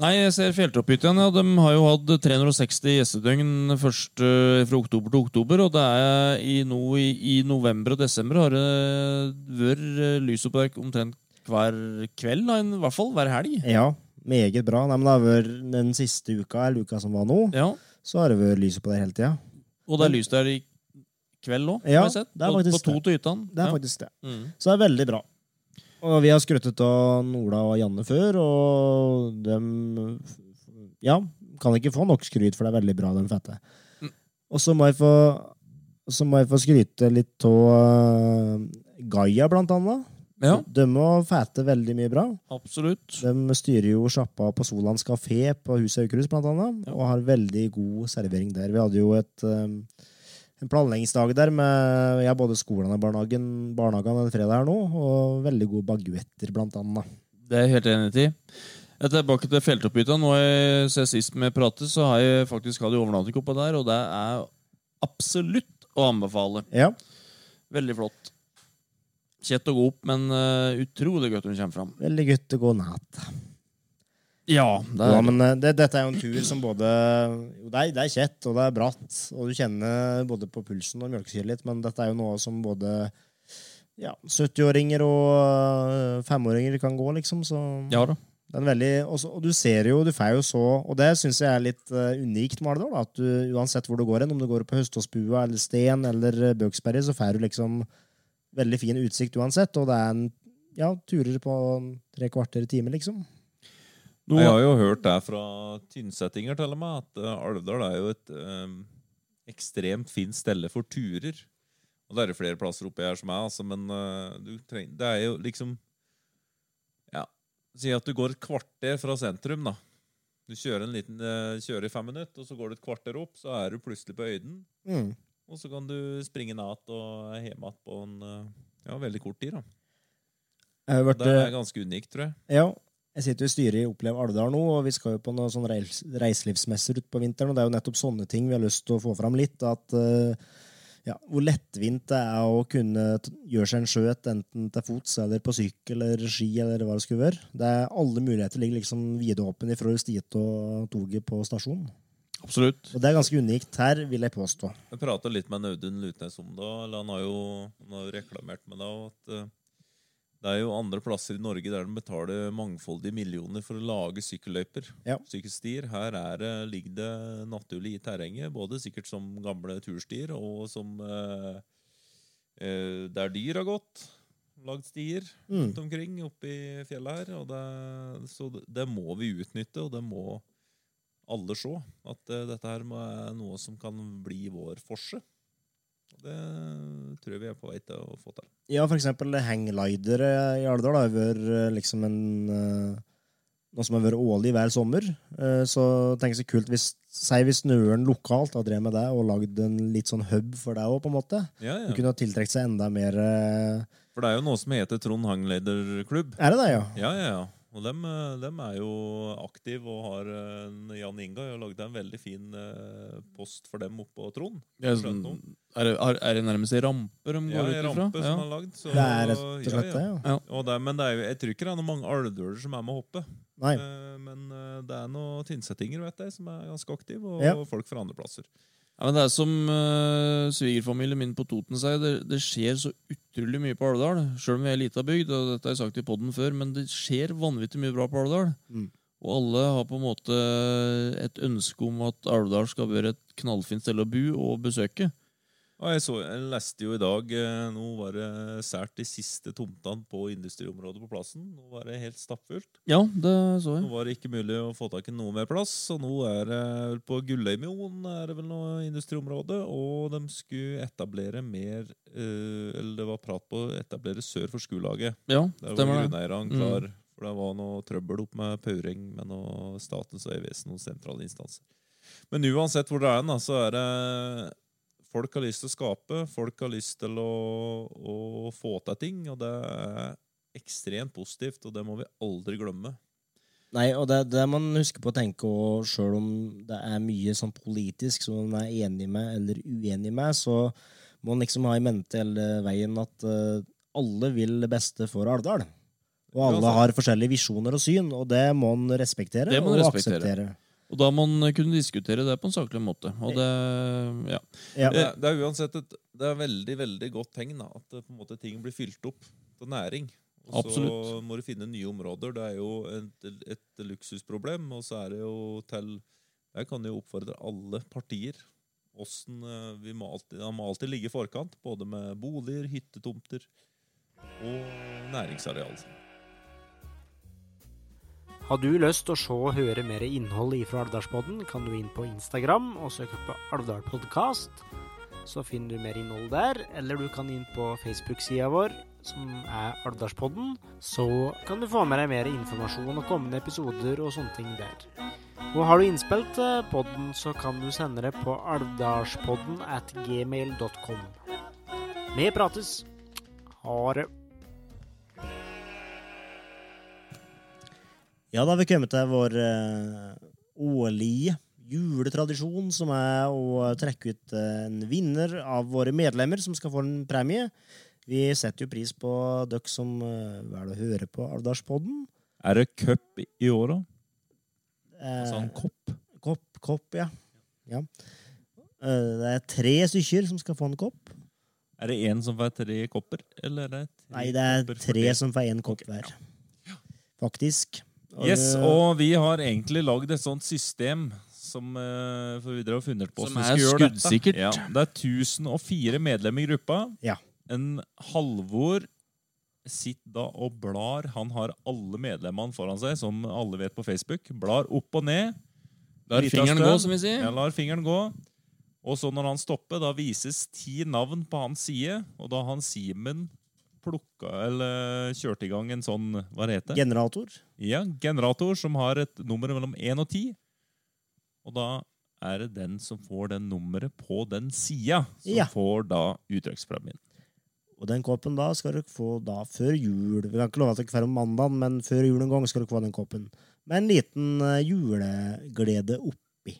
Speaker 1: Nei, jeg ser Fjelltopphyttene. Ja. De har jo hatt 360 gjestedøgn først eh, fra oktober til oktober. Og det er i, no, i, i november og desember har det vært eh, lysoppdrag omtrent hver kveld, da, i hvert fall hver helg.
Speaker 3: Ja, meget bra. Nei, men det har vært den siste uka, eller uka som var nå, så har det vært lyset på der hele tida.
Speaker 1: Og det er lys der i kveld òg,
Speaker 3: Ja,
Speaker 1: har jeg sett.
Speaker 3: det er
Speaker 1: På-
Speaker 3: faktisk
Speaker 1: på to
Speaker 3: det.
Speaker 1: til ytene.
Speaker 3: Det er
Speaker 1: Ja.
Speaker 3: faktisk det.
Speaker 1: Mm.
Speaker 3: Så det er veldig bra. Og vi har skrøttet av Ola og Janne før, og dem Ja, kan ikke få nok skryt, for det er veldig bra, den fette. Og så må jeg få så må jeg få skryte litt av eh, Gaia, blant annet.
Speaker 1: Ja.
Speaker 3: De må fete veldig mye bra.
Speaker 1: Absolutt.
Speaker 3: De styrer jo sjappa på Solands kafé på huset Aukrust, blant annet, og har veldig god servering der. Vi hadde jo et, um, en planleggingsdag der med ja, både skolen og barnehagen, barnehagen den fredag her nå, og veldig gode baguetter, blant annet.
Speaker 1: Det er jeg helt enig i. Jeg er Tilbake til feltoppbytta. Nå jeg ser sist vi pratet, så har jeg faktisk hatt en overnatting oppå der, og det er absolutt å anbefale.
Speaker 3: Ja.
Speaker 1: Veldig flott. Kjett å gå opp, men eh, utrolig godt hun kommer fram.
Speaker 3: Veldig godt å gå natt.
Speaker 1: Ja, det er
Speaker 3: Ja, men eh, det, dette er jo en tur som både jo, det, er, det er kjett, og det er bratt, og du kjenner både på pulsen og mjølkesyre litt, men dette er jo noe som både ja, 70-åringer og 5-åringer kan gå, liksom. Så
Speaker 1: Ja da.
Speaker 3: Det er en veldig, og, så, og du ser jo, du får jo så Og det syns jeg er litt eh, unikt med Alvdal. da, At du uansett hvor du går hen, om du går på Høståsbua eller Sten eller eh, Bøksberget, så får du liksom veldig fin utsikt uansett. Og det er en ja, turer på tre kvarter time, liksom.
Speaker 1: Nå-
Speaker 4: Jeg har jo hørt det fra tynnsettinger til og med, at eh, Alvdal er jo et eh, ekstremt fint stelle for turer. Og det er det flere plasser oppi her som er, altså, men eh, du treng, det er jo liksom Ja, si at du går et kvarter fra sentrum, da. Du kjører, en liten, eh, kjører i fem minutter, og så går du et kvarter opp, så er du plutselig på høyden.
Speaker 3: Mm.
Speaker 4: Og så kan du springe ned igjen og er hjemme igjen på en eh, ja, veldig kort tid. da.
Speaker 3: Jeg har vært,
Speaker 4: Det er
Speaker 3: eh,
Speaker 4: ganske unikt, tror jeg.
Speaker 3: Ja, jeg sitter jo i styret i Opplev Alvdal nå, og vi skal jo på noen sånn reis reiselivsmesser utpå vinteren, og det er jo nettopp sånne ting vi har lyst til å få fram litt, at eh, ja, hvor lettvint det er å kunne t- gjøre seg en skjøt, enten til fots eller på sykkel eller ski eller hva det skulle være. Det er alle muligheter ligger liksom vidåpen ifra stiet og toget på stasjonen.
Speaker 1: Absolutt.
Speaker 3: Og det er ganske unikt her, vil jeg påstå.
Speaker 4: Jeg prata litt med Audun Lutnes om det. eller Han har jo, han har jo reklamert med det. og at eh, Det er jo andre plasser i Norge der de betaler mangfoldige millioner for å lage sykkelløyper.
Speaker 3: Ja.
Speaker 4: Sykkelstier. Her er, det- ligger det naturlig i terrenget, både sikkert som gamle turstier og som eh, eh, der dyr har gått. Lagd stier
Speaker 3: Mm.
Speaker 4: rundt omkring oppi fjellet her. Og det, så det, det må vi utnytte, og det må alle se. At eh, dette her må, er noe som kan bli vår forse. Og det tror jeg vi er på vei til å få til.
Speaker 3: Ja, for eksempel hanglider i Alvdal har vært eh, liksom en eh, nå som har vært årlig hver sommer, eh, så tenker jeg så kult hvis Si hvis Nøren lokalt har drevet med det og lagd en litt sånn hub for deg òg, på en måte.
Speaker 4: Ja, ja.
Speaker 3: Du kunne ha tiltrukket seg enda mer eh,
Speaker 4: For det er jo noe som heter Trond Hanglederklubb.
Speaker 3: Er det det, ja?
Speaker 4: Ja, ja, ja. Og dem, eh, dem er jo aktive og har eh, Jan Inga har lagd en veldig fin eh, post for dem oppå Trond.
Speaker 1: Det er, sånn, er, det, er- er det nærmest ei rampe de går
Speaker 4: Ja,
Speaker 1: ut
Speaker 4: ei
Speaker 1: ifra?
Speaker 4: rampe som er lagd, så-
Speaker 3: Det er rett og slett det, ja.
Speaker 4: Og det, er- men det er, jo- jeg tror ikke det er noen mange alvdøler som er med å hoppe.
Speaker 3: Nei.
Speaker 4: Eh, Men eh, det er noen tinsettinger vet jeg, som er ganske aktive, og
Speaker 1: Ja.
Speaker 4: folk fra andre plasser.
Speaker 1: Ja, men Det er som eh, svigerfamilien min på Toten sier, det, det skjer så utrolig mye på Alvdal. Selv om vi er ei lita bygd, og dette har jeg sagt i podden før, men det skjer vanvittig mye bra på Alvdal.
Speaker 3: Mm.
Speaker 1: Og alle har på en måte et ønske om at Alvdal skal være et knallfint sted å bo og besøke.
Speaker 4: Og jeg, så, jeg leste jo i dag eh, Nå var det sært de siste tomtene på industriområdet på plassen. Nå var det helt stappfullt.
Speaker 1: Ja, det så jeg.
Speaker 4: Nå var det ikke mulig å få tak i noe mer plass, og nå er det vel på Gulløymioen er det vel noe industriområde, og de skulle etablere mer eh, Eller det var prat på å etablere sør for Skulaget.
Speaker 1: Ja,
Speaker 4: Der var
Speaker 1: stemmer det.
Speaker 4: grunneierne
Speaker 1: Mm.
Speaker 4: klar, for det var noe trøbbel opp med Paureng med noe Statens vegvesen, noen sentrale instanser. Men uansett hvor det er, da, så er det Folk har lyst til å skape, folk har lyst til å, å få til ting, og det er ekstremt positivt, og det må vi aldri glemme.
Speaker 3: Nei, og det er det man husker på å tenke, og sjøl om det er mye sånn politisk som man er enig med eller uenig med, så må man liksom ha i mente hele veien at eh, alle vil det beste for Alvdal. Og alle
Speaker 1: sant.
Speaker 3: har forskjellige visjoner og syn, og det må man respektere
Speaker 1: Det må
Speaker 3: og
Speaker 1: man respektere.
Speaker 3: akseptere.
Speaker 1: Og da må man kunne diskutere det på en saklig måte. Og det, ja.
Speaker 4: Det, det er uansett et det er veldig veldig godt tegn da, at eh, på en måte, ting blir fylt opp av næring. Og så
Speaker 1: Absolutt.
Speaker 4: må du finne nye områder. Det er jo et, et luksusproblem. Og så er det jo til Jeg kan jo oppfordre alle partier. Hvordan, eh, vi må alltid, han må alltid ligge i forkant, både med boliger, hyttetomter og næringsareal.
Speaker 11: Har du lyst til å se og høre mer innhold ifra Alvdalspodden, kan du inn på Instagram og søke på Alvdal podcast. Så finner du mer innhold der, eller du kan inn på Facebook-sida vår, som er Alvdalspodden. Så kan du få med deg mer informasjon og kommende episoder og sånne ting der. Og har du innspill til podden, så kan du sende det på alvdalspodden at gmail.com. Vi prates! Ha det!
Speaker 3: Ja, da har vi kommet til vår eh, årlige juletradisjon, som er å trekke ut eh, en vinner av våre medlemmer, som skal få en premie. Vi setter jo pris på dere som eh, velger å høre på Alvdalspodden.
Speaker 4: Er det cup i år, da?
Speaker 3: Eh,
Speaker 4: Altså en kopp?
Speaker 3: Kopp, kopp, ja. ja. Eh, det er tre stykker som skal få en kopp.
Speaker 4: Er det én som får tre kopper? Eller er det tre
Speaker 3: Nei, det er
Speaker 4: kopper for
Speaker 3: tre
Speaker 4: det?
Speaker 3: som får én kopp hver. Faktisk.
Speaker 4: Yes,
Speaker 3: eh,
Speaker 4: og vi har egentlig lagd et sånt system som eh, for vi drev og funnet på
Speaker 1: Som
Speaker 4: hvordan
Speaker 1: er
Speaker 4: vi skulle gjøre dette.
Speaker 1: skuddsikkert.
Speaker 4: Ja, det er 1004 medlemmer i gruppa.
Speaker 3: Ja.
Speaker 4: En Halvor sitter da og blar. Han har alle medlemmene foran seg, som alle vet på Facebook. Blar opp og ned.
Speaker 1: Lar
Speaker 4: Lita
Speaker 1: fingeren
Speaker 4: stund.
Speaker 1: gå, som vi sier.
Speaker 4: Ja, lar fingeren gå. Og så når han stopper, da vises ti navn på hans side. Og da han Simen plukka, eller kjørte i gang en sånn, hva det heter
Speaker 3: Generator.
Speaker 4: Ja, generator som har et nummer mellom 1 og 10. Og da er det den som får den nummeret på den sida, som
Speaker 3: Ja.
Speaker 4: får da uttrykkspremien.
Speaker 3: Og den koppen da skal dere få da før jul. Vi kan ikke love at dere får om mandagen, men før jul en gang skal dere få den koppen. Med en liten eh, juleglede oppi.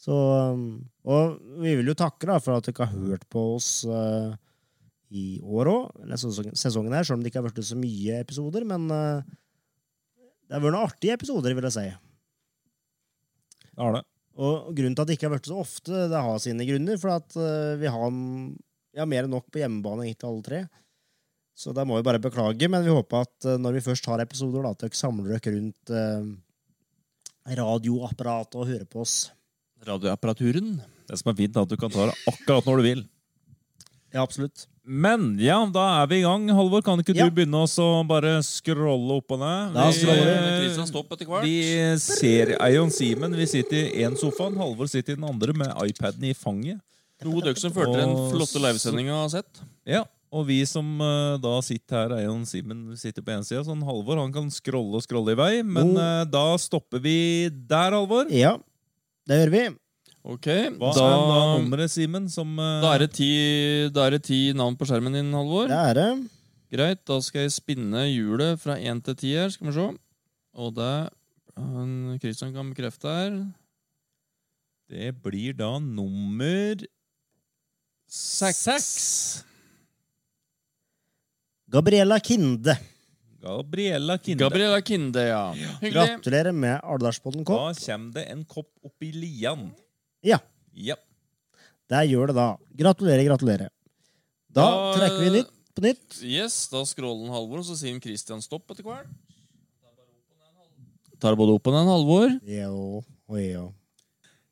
Speaker 3: Så, um, og vi vil jo takke da for at dere har hørt på oss eh, i år òg, sesongen her, selv om det ikke har vært så mye episoder. Men eh, det har vært noen artige episoder, vil jeg si.
Speaker 4: Det har det.
Speaker 3: Og grunnen til at det ikke har vært så ofte, det har sine grunner, for at eh, vi har, vi har mer enn nok på hjemmebane egentlig alle tre. Så da må vi bare beklage, men vi håper at eh, når vi først har episoder, da, at dere samler dere rundt eh, radioapparatet og hører på oss.
Speaker 4: Radioapparaturen. Det som er fint, er at du kan ta det akkurat når du vil.
Speaker 3: Ja, absolutt.
Speaker 4: Men ja, da er vi i gang. Halvor, kan ikke
Speaker 1: Ja.
Speaker 4: du begynne oss å bare scrolle opp og ned?
Speaker 1: Da
Speaker 4: Vi-
Speaker 1: scroller vi. Kristian, stopp etter hvert.
Speaker 4: Vi ser Eion Simen. Vi sitter i én sofaen. Halvor sitter i den andre med iPaden i fanget.
Speaker 1: To dere som følte den flotte livesendinga har sett.
Speaker 4: Ja, Og vi som eh, da sitter her, Eion Simen sitter på ene sida, sånn Halvor han kan scrolle og scrolle i vei. Men
Speaker 1: Oh.
Speaker 4: eh, da stopper vi der, Halvor.
Speaker 3: Ja, det gjør vi.
Speaker 1: Ok,
Speaker 4: Hva
Speaker 1: da,
Speaker 4: er da nummeret, Simen, som eh,
Speaker 1: da, er det ti, da er det ti navn på skjermen din, Halvor.
Speaker 3: Det er eh, det.
Speaker 1: Greit, da skal jeg spinne hjulet fra 1 til 10 her, skal vi se. Og det han, Christian kan bekrefte her.
Speaker 4: Det blir da nummer seks.
Speaker 3: Gabriella Kinde.
Speaker 4: Gabriella Kinde.
Speaker 1: Gabriella Kinde, ja. Hyggelig.
Speaker 3: Gratulerer med Aldersbotn
Speaker 4: Da
Speaker 3: Kopp.
Speaker 4: kommer det en kopp oppi lian.
Speaker 3: Ja,
Speaker 4: Ja.
Speaker 3: der gjør det da. Gratulerer, gratulerer. Da
Speaker 1: Da-
Speaker 3: trekker vi nytt på nytt.
Speaker 1: Yes, da scroller han Halvor, og så sier han Christian stopp etter hvert. Tar både opp og ned en Halvor.
Speaker 3: Jo, oi, jo.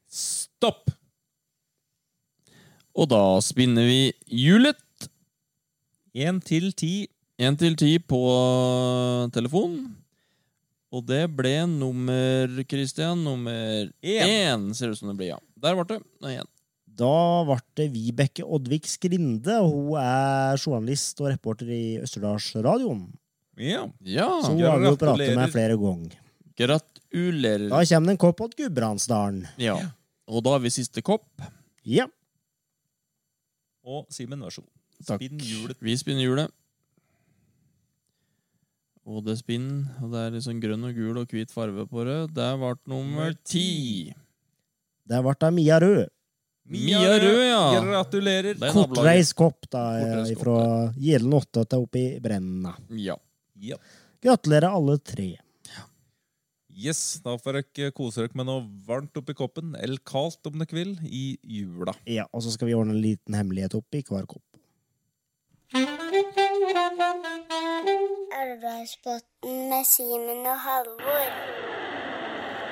Speaker 4: Stopp!
Speaker 1: Og da spinner vi hjulet.
Speaker 4: Én til ti.
Speaker 1: 1 til 10 på telefon. Og det ble nummer Christian, nummer én, ser det ut som det blir, ja. Der ble det. Nå igjen.
Speaker 3: Da ble det Vibeke Oddvik Skrinde, og hun er journalist og reporter i Østerdalsradioen.
Speaker 4: Ja.
Speaker 1: Ja,
Speaker 3: Så hun har vi jo pratet med flere ganger.
Speaker 1: gratulerer.
Speaker 3: Da kommer det en kopp til Gudbrandsdalen.
Speaker 1: Ja. Og da har vi siste kopp.
Speaker 3: Ja.
Speaker 4: Og Simen, vær så god.
Speaker 1: Takk.
Speaker 4: Spinn hjulet.
Speaker 1: Vi spinner hjulet. Og det spinner, og det er litt sånn grønn og gul og hvit farve på det. Det ble nummer ti.
Speaker 3: Der ble det Mia Rød.
Speaker 1: Mia Rød, ja.
Speaker 4: Gratulerer.
Speaker 1: Det er nabolaget.
Speaker 3: Kortreist kopp da, eh,
Speaker 1: Kortreist kopp,
Speaker 3: fra Gjelen 8 til oppi Brenna.
Speaker 1: Ja.
Speaker 4: Ja.
Speaker 3: Gratulerer alle tre.
Speaker 4: Yes, da får dere kose dere med noe varmt oppi koppen, eller kaldt om dere vil, i jula.
Speaker 3: Ja, og så skal vi ordne en liten hemmelighet oppi hver kopp.
Speaker 12: Arbeidsbotn med Simen og Halvor.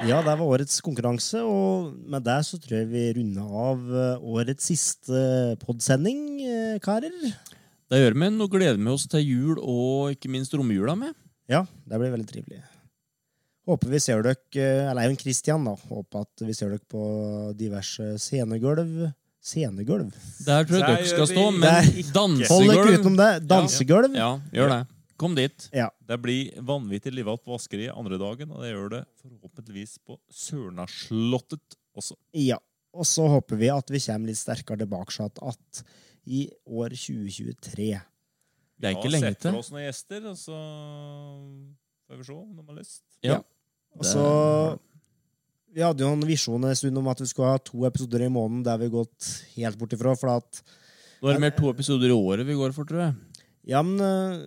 Speaker 3: Ja, det var årets konkurranse, og med det så tror jeg vi runder av eh, årets siste podsending, eh, karer.
Speaker 1: Det gjør vi. Nå gleder vi oss til jul og ikke minst romjula med.
Speaker 3: Ja, det blir veldig trivelig. Håper vi ser dere, eh, eller Eion Kristian da, håper at vi ser dere på diverse scenegulv. Scenegulv?
Speaker 1: Der tror jeg
Speaker 4: Der
Speaker 1: dere
Speaker 4: gjør
Speaker 1: skal stå,
Speaker 4: vi-
Speaker 3: Der- Hold
Speaker 1: men
Speaker 3: dere
Speaker 1: dansegulv
Speaker 3: utenom det. Dansegulv?
Speaker 1: Ja, gjør det. Kom dit.
Speaker 3: Ja.
Speaker 4: Det blir vanvittig livet på vaskeriet andre dagen, og det gjør det forhåpentligvis på Sørnaslottet også.
Speaker 3: Ja, og så håper vi at vi kommer litt sterkere tilbake sånn at i år 2023
Speaker 1: Det er
Speaker 4: Da
Speaker 1: ikke lenge
Speaker 4: setter vi
Speaker 1: til.
Speaker 4: oss noen gjester, og så får vi se om de har lyst.
Speaker 1: Ja.
Speaker 3: Og så Vi hadde jo en visjon en stund om at vi skulle ha to episoder i måneden. Det har vi gått helt bort ifra. For at
Speaker 1: Nå er det mer to episoder i året vi går for, tror jeg.
Speaker 3: Ja, men eh,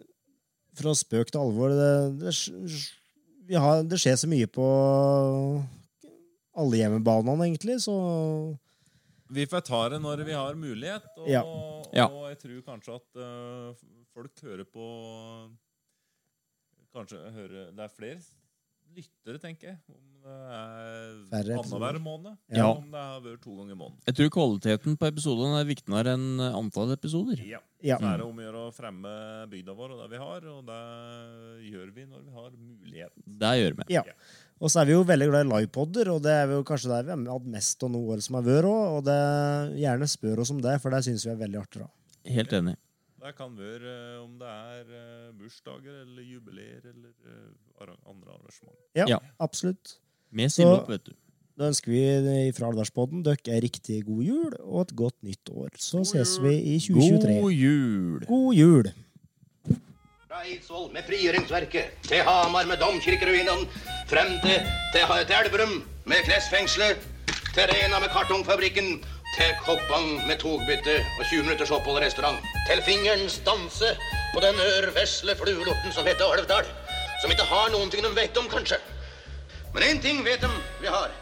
Speaker 3: fra spøk til alvor Det, det, sk- vi har, det skjer så mye på alle hjemmebanene, egentlig, så
Speaker 4: Vi får ta det når vi har mulighet, og,
Speaker 3: Ja.
Speaker 1: Ja.
Speaker 4: og jeg tror kanskje at øh, folk hører på Kanskje hører Det er flere lyttere, tenker jeg, om det er
Speaker 3: Færre episoder.
Speaker 4: annenhver måned.
Speaker 1: Ja.
Speaker 4: Om det har vært to ganger i måneden.
Speaker 1: Jeg tror kvaliteten på episodene er viktigere enn antall episoder.
Speaker 4: Ja.
Speaker 3: Ja.
Speaker 4: Så er det om å gjøre å fremme bygda vår og det vi har, og det gjør vi når vi har mulighet.
Speaker 1: Det gjør vi.
Speaker 3: Ja. Og så er vi jo veldig glad i livepoder, og det er jo kanskje der vi har hatt mest av noe år som har vært òg. Og det, gjerne spør oss om det, for det syns vi er veldig artig. da.
Speaker 1: Helt enig.
Speaker 4: Det kan være øh, om det er øh, bursdager eller jubileer eller øh, arra- andre arrangement.
Speaker 3: Ja,
Speaker 1: Ja.
Speaker 3: absolutt.
Speaker 1: Vi stiller
Speaker 3: Så-
Speaker 1: opp, vet du.
Speaker 3: Da ønsker vi fra Alderspodden dere ei riktig god jul og et godt nytt år. Så ses vi i 2023.
Speaker 1: God jul!
Speaker 3: God jul!
Speaker 15: Fra Eidsvoll med frigjøringsverket, til Hamar med domkirkeruinene, frem til, til, til Elverum med klesfengselet, til Rena med kartongfabrikken, til Koppang med togbytte og 20 minutters opphold i restaurant, til fingerens danse på den ørvesle fluelorten som heter Alvdal, som ikke har noen ting de vet om, kanskje. Men én ting vet de vi har.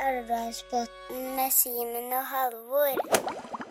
Speaker 12: Arbeidsbotn med Simen og Halvor.